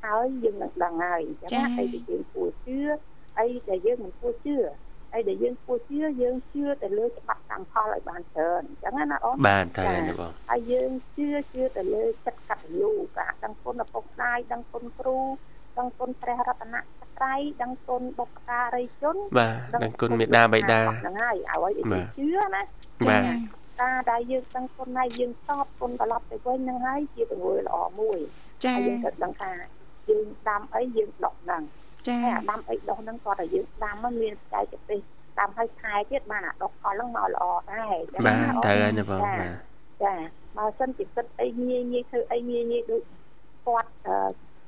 Speaker 4: ហើយយើងនឹងដឹងហើយអញ្ចឹងណាអីដែលយើងគួរជឿអីដែលយើងមិនគួរជឿអីដែលយើងគួរជឿយើងជឿទៅលើច្បាប់កម្មផលឲ្យបានច្រើនអញ្ចឹងណាអូន
Speaker 3: បាទតែណាបង
Speaker 4: ហើយយើងជឿជឿទៅលើចិត្តកតញ្ញូការដឹងគុណឪពុកម្ដាយដឹងគុណគ្រូដឹងគុណព្រះរតនត្រ័យដឹងគុណបុព្វការីជន
Speaker 3: បាទដឹងគុណមេត្តាបិតា
Speaker 4: ហ្នឹងហើយឲ្យឲ្យគេជឿណា
Speaker 3: បាទ
Speaker 4: តាដែលយើងដឹងគុណហើយយើងតបគុណត្រឡប់ទៅវិញហ្នឹងហើយជាទង្វើល្អមួយ
Speaker 1: ចា
Speaker 4: ហើយយើងក៏ដឹងថាយើងដាំអីយើងដកដឹង
Speaker 1: ចា
Speaker 4: ហើយអាដាំអីដកហ្នឹងគាត់តែយើងដាំហ្នឹងមានចែកទេសដាំឲ្យខែទៀតបានអាដកផលហ្នឹងមកល្អដែរចឹង
Speaker 3: បា
Speaker 4: ណា
Speaker 3: ទ
Speaker 4: អូន
Speaker 3: តែណាបងបាទ
Speaker 4: ចាបើសិនជាគិតអីងាយងាយធ្វើអីងាយងាយដូចគាត់អឺ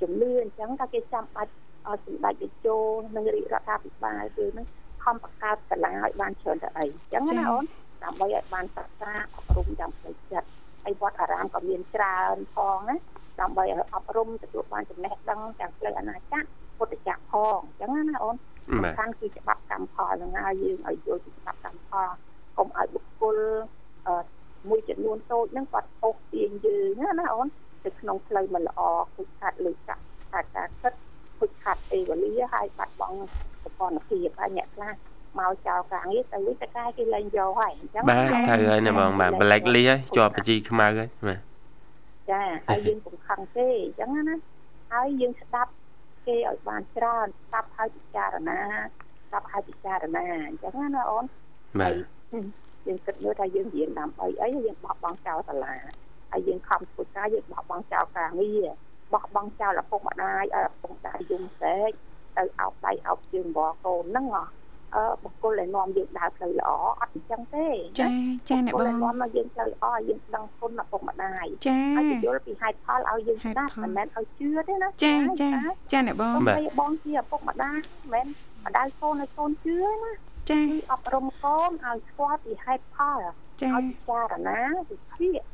Speaker 4: ជំនឿអញ្ចឹងថាគេចាំបាច់ឲ្យសម្ដេចវិជោនិងរាជរដ្ឋាភិបាលគឺហ្នឹងខំបង្កើតសាលាឲ្យបានច្រើនទៅអីអញ្ចឹងណាអូនដើម្បីឲ្យបានសិក្សាអប់រំយ៉ាងផ្លូវចិត្តហើយវត្តអារាមក៏មានច្រើនផងណាដើម្បីឲ្យអប់រំទទួលបានចំណេះដឹងទាំងផ្លូវអាណាចក្រពុទ្ធចក្រផងអញ្ចឹងណាអូន
Speaker 3: បាទ
Speaker 4: សំខាន់គឺច្បាប់កម្មផលហ្នឹងហើយយើងឲ្យយល់ពីច្បាប់កម្មផលកុំឲ្យបុគ្គ ទៅក្នុងផ្លូវមិនល្អគឺខាត់លុយកាក់ខាត់ការគិតគឺខាត់ពេលវេលាហើយបាត់បង់ប្រព័ន្ធភាពហើយអ្នកខ្លះមកចោលការងារទៅវិញតកាយគេលែងយកហើយអញ្ចឹង
Speaker 3: បាទ
Speaker 1: ចា៎
Speaker 3: ត្រូវហើយ
Speaker 1: ចា៎
Speaker 3: ណាបងបាទ black list ហើយជាប់បញ្ជីខ្មៅហើយបាទ
Speaker 4: ចាហើយយើងកំខឹងទេអញ្ចឹងណាហើយយើងស្ដាប់គេឲ្យបានច្រើនស្ដាប់ហើយពិចារណាស្ដាប់ហើយពិចារណាអញ្ចឹងណាណាអូន
Speaker 3: បាទ
Speaker 4: យើងគិតមើលថាយើងរៀនដើម្បីអីយើងបោះបង់ចោលសាលាហើយយើងខំធ្វើការយើងបោះបង់ចោលការងារបោះបង់ចោលឪពុកម្ដាយឲ្យឪពុកម្ដាយយំសែកទៅអោបដៃអោបជើងវល់កូនហ្នឹងហ៎អឺបុគ្គលដែលនាំយើងដើរផ្លូវល្អអត់អញ្ចឹងទេ
Speaker 1: ចាចាអ្នក
Speaker 4: បុគ្គ
Speaker 1: ប
Speaker 4: ល
Speaker 1: ង
Speaker 4: ដែលនាំមកយើងផ្លូវល្អឲ្យយើងដឹងគុណឪពុកម្ដាយ
Speaker 1: ចា
Speaker 4: ហើយយល់ពីហេតុផលឲ្យយើង
Speaker 1: ហេតុ
Speaker 4: ស្ដាប់
Speaker 1: ផល
Speaker 4: មិនមែនឲ្យជឿទេណា
Speaker 1: ចាចាចាអ្នកបង
Speaker 4: បងបីបងជាឪពុកម្ដាយមិនមែនម្ដាយកូនឲ្យកូនជឿណា
Speaker 1: ចា
Speaker 4: គឺអប់រំកូនឲ្យស្គាល់ពីហេតុផល
Speaker 1: ចា
Speaker 4: ឲ្យពិចារណាវិភាគឲ្យ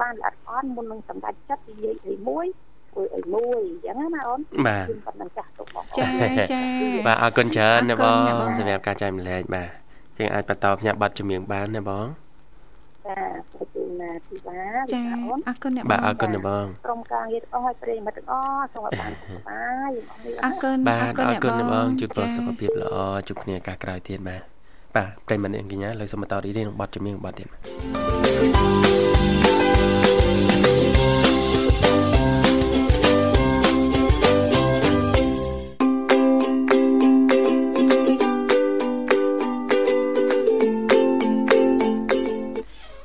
Speaker 4: បានល្អិតល្អន់មុននឹងសម្រេចចិត្តនិយាយអីមួយធ្វើអីមួយអញ្ចឹងណាអូន
Speaker 3: បាទ
Speaker 4: ខ្ញុំប៉ុណ្ណឹងចាស់ទុកបងអូន
Speaker 1: ចាចា
Speaker 3: បាទអរគុណច្រើនណាប
Speaker 1: អរគុណ
Speaker 3: ង
Speaker 1: ណាបង
Speaker 3: សម្រាប់ការចែករំលែកបាទយើងអាចបន្តផ្សាយប័ណ្ណចម្រៀងបានណាបង
Speaker 4: ចាប្រជូនណាធីវ៉ា
Speaker 1: ចា
Speaker 4: ណាអូន
Speaker 1: អរគុណអ្នកប
Speaker 3: បាទ
Speaker 1: ង
Speaker 3: អរគុណណាបង
Speaker 4: ក្រុមការងារទាំងអស់ឲ្យប្រិយមិត្តទាំងអស់សូមឲ្យបានសុខសប្បាយយើងអស់នេះ
Speaker 1: អរគុណ
Speaker 3: បាទអរ
Speaker 1: អ្នក
Speaker 3: គុណណាបងជួប
Speaker 1: ចា
Speaker 3: ទាល់សុខភាពល្អជួបគ្នាឱកាសក្រោយទៀតបាទបាទប្រិយមត្តនាងកញ្ញាលើកសូមបន្តរីករាយនឹងប័ណ្ណចម្រៀងប័ណ្ណទៀតបាទ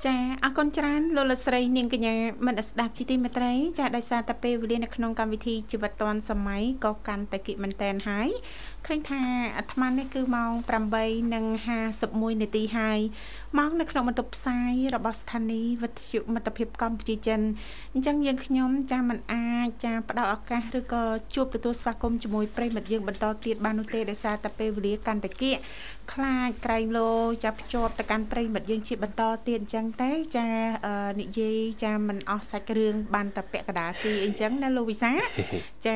Speaker 1: ចាអរគុណច្រើនលោកលកស្រីនាងកញ្ញាមិនស្ដាប់ជីទីមេត្រីចាដោយសារតែពេលវេលានៅក្នុងកម្មវិធីជីវិតឌွန်សម័យក៏កាន់តែគិតមែនតែនហើយឃើញថាអាត្មានេះគឺម៉ោង8:51នាទីហើយម៉ោងនៅក្នុងបន្ទប់ផ្សាយរបស់ស្ថានីយ៍វិទ្យុមិត្តភាពកម្ពុជាចិនអញ្ចឹងយើងខ្ញុំចាមិនអាចចាផ្ដល់ឱកាសឬក៏ជួបទទួលស្វាគមន៍ជាមួយប្រិយមិត្តយើងបន្តទៀតបាននោះទេដោយសារតែពេលវេលាកាន់តែគិត ខ្លាចក្រែងលោចាភ្ជាប់ទៅកាន់ប្រិមិត្តយើងជាបន្តទៀតអញ្ចឹងតែចាអឺនិយាយចាមិនអស់សាច់រឿងបានតែពាក់កណ្ដាលទីអីអញ្ចឹងណាលោក វិសា ចា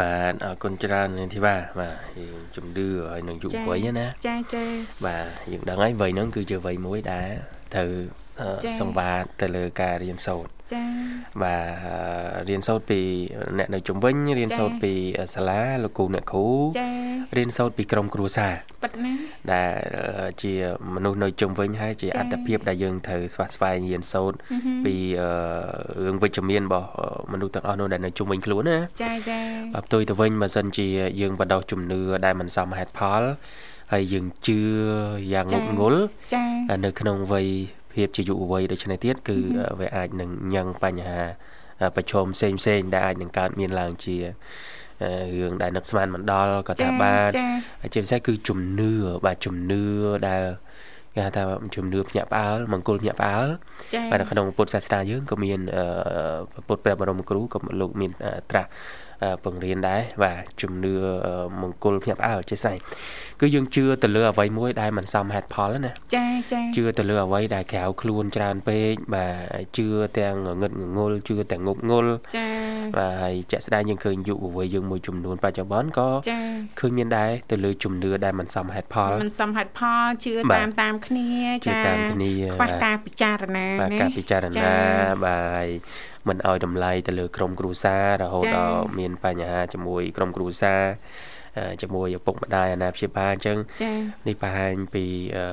Speaker 3: បាទអរគុណច្រើននាងធីវ៉ាបាទយើងជំរឿហើយនឹងយុវវ័យណា
Speaker 1: ចាចា
Speaker 3: បាទយើងដឹងហើយវ័យហ្នឹងគឺជាវ័យមួយដែលត្រូវអឺសង្វាតទៅលើការរៀនសូត្រ
Speaker 1: ចា
Speaker 3: បាទអឺរៀនសូត្រពីអ្នកនៅជំនវិញ រៀន
Speaker 1: ចា៎
Speaker 3: សូត្រពីសាលាលោកគ្រូអ្នកគ្រូ
Speaker 1: ចា
Speaker 3: រៀនសូត្រពីក្រុមគ្រួសារ
Speaker 1: ប៉ិតណា
Speaker 3: ដែលអឺជាមនុស្សនៅជំនវិញហើយជា
Speaker 1: ចា៎
Speaker 3: អត្តភាពដែលយើងត្រូវស្វាស្វែងរៀនសូត្រ
Speaker 1: ហឹម
Speaker 3: ពីអឺរឿងវិជ្ជមានរបស់អឺមនុស្សទាំងអស់នោះដែលនៅជំនវិញខ្លួនណា
Speaker 1: ចាចា
Speaker 3: បើផ្ទុយទៅវិញបើសិនជាយើងបដោះជំនឿដែលមិនសមហេតុផលហើយយើងជឿយ៉ាងងប់ងល់
Speaker 1: ចា
Speaker 3: នៅក្នុងវ័យភាពជាយុវវ័យដូច្នេះទៀតគឺវាអាចនឹងញ៉ាំងបញ្ហាប្រឈមផ្សេងផ្សេងៗដែលអាចនឹងកើតមានឡើងជាអឺរឿងដែលនឹកស្មានមិនដល់ក៏
Speaker 1: ចា
Speaker 3: ថាបាន
Speaker 1: ចា
Speaker 3: ហើយជាពិសេសគឺជំនឿបាទជំនឿដែលគេហៅថាជំនឿភ្ញាក់ផ្អើលមង្គលភ្ញាក់ផ្អើល
Speaker 1: ចា
Speaker 3: បាទនៅក្នុងពុទ្ធសាសនាយើងក៏មានអឺពុទ្ធព្រះបរមគ្រូក៏លោកមានអឺត្រាស់អឺបង្រៀនដែរបាទជំនឿអឺមង្គលភ្ញាក់ផ្អើលចេះស្អីគឺយើងជឿទៅលើអ្វីមួយដែលមិនសមហេតុផលណា
Speaker 1: ចាចា
Speaker 3: ជឿទៅលើអ្វីដែលក្រៅខ្លួនច្រើនពេកបាទជឿទាំងងឹតងងល់ជឿទាំងងប់ងល់
Speaker 1: ចា
Speaker 3: បាទហើយជាក់ស្ដែងយើងឃើញយុវវ័យយើងមួយចំនួនបច្ចុប្បន្នក៏
Speaker 1: ចា
Speaker 3: ឃើញមានដែរទៅលើជំនឿដែលមិនសមហេតុផល
Speaker 1: มันសំហេតុផលជឿ
Speaker 3: បាទ
Speaker 1: តាមតាមគ្នា
Speaker 3: ជឿ
Speaker 1: ចា
Speaker 3: តាមគ្នា
Speaker 1: ខ្វះការពិចារណា
Speaker 3: បាទ
Speaker 1: ណា
Speaker 3: ការពិចារ
Speaker 1: ចា៎
Speaker 3: ណាបាទហើយមិនឲ្យតម្លៃទៅលើក្រុមគ្រួសាររហូត
Speaker 1: ចា៎
Speaker 3: ដល់មានបញ្ហាជាមួយក្រុមគ្រួសារអឺជាមួយឪពុកម្ដាយអាណាព្យាបាលអញ្ចឹង
Speaker 1: ចា៎
Speaker 3: នេះបង្ហាញពីអឺ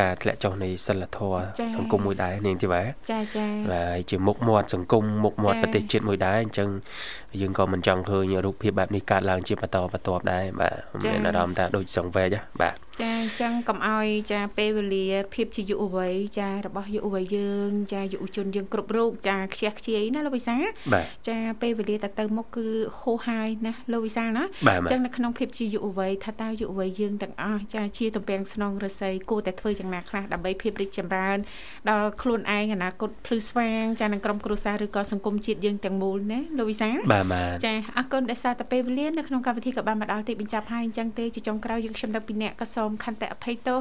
Speaker 3: ការធ្លាក់ចុះនៃសិលធម៌
Speaker 1: ចា៎
Speaker 3: សង្គមមួយដែរនាងទីបាទ
Speaker 1: ចាចា
Speaker 3: បាទហើយជាមុខមាត់សង្គមមុខមាត់ប្រទេសជាតិមួយដែរអញ្ចឹងយើងក៏មិនចង់ឃើញរូបភាពបែបនេះកើតឡើងជាបន្តបន្ទាប់ដែរបាទមានអារម្មណ៍ថាដូចសង្វេគហ៎បាទ
Speaker 1: ចាអញ្ចឹងកុំអោយចាពេលវេលាភាពជាយុវវ័យចារបស់យុវវ័យយើង ចាយុវជនយើងគ្រប់រូបចាខ្ជះខ្ជាយណាលោកវិសាល
Speaker 3: បាទ
Speaker 1: ចាពេលវេលាតទៅមុខគឺហូរហាយណាលោកវិសាលណា
Speaker 3: បាទបាទ
Speaker 1: ចឹងនៅក្នុងភាពជាយុវវ័យថាតើយុវវ័យយើងទាំងអស់ចាជាតំពាំងស្នងរស្មីគួរតែធ្វើយ៉ាងណាខ្លះដើម្បីភាពរីកចម្រើនដល់ខ្លួនឯងអនាគតភ្លឺស្វាងចានឹងក្រុមគ្រួសារឬក៏សង្គមជាតិយើងទាំងមូលណាលោកវិសាល
Speaker 3: បាទបាទ
Speaker 1: ចាអរគុណដែលសារតែពេលវេលានៅក្នុងកម្មវិធីក៏បានមកដល់ទីបញ្ចប់ហើយអញ្ចឹងទេជាចុងក្រោយយើងខ្ញុំទាំងពីរអ្នកក៏សូមខន្តិអភ័យទោស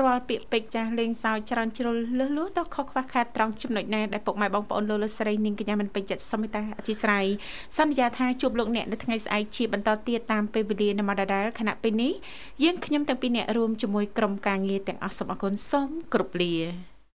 Speaker 1: រាល់ពាក្យពេចន៍ចាស់លេងសើចច្រើនជ្រុលលឹះលួសទោះខុសខ្វះខាតត្រង់ចំណុចណាដែលពុកម៉ែបងប្អូនលោកលោកស្រីនាងកញ្ញាមិនពេញចិត្តសូមមេត្តាអធិស្ឋានសន្យាថាជួបលោកអ្នកនៅថ្ងៃស្អែកជាបន្តទៀតតាមពេល វេលានៅមកដដែលខណៈពេលនេះយើងខ្ញុំទាំងពីរអ្នករួមជាមួយក្រុមការងារទាំងអស់សូមអរគុណសូមគ្រប់លា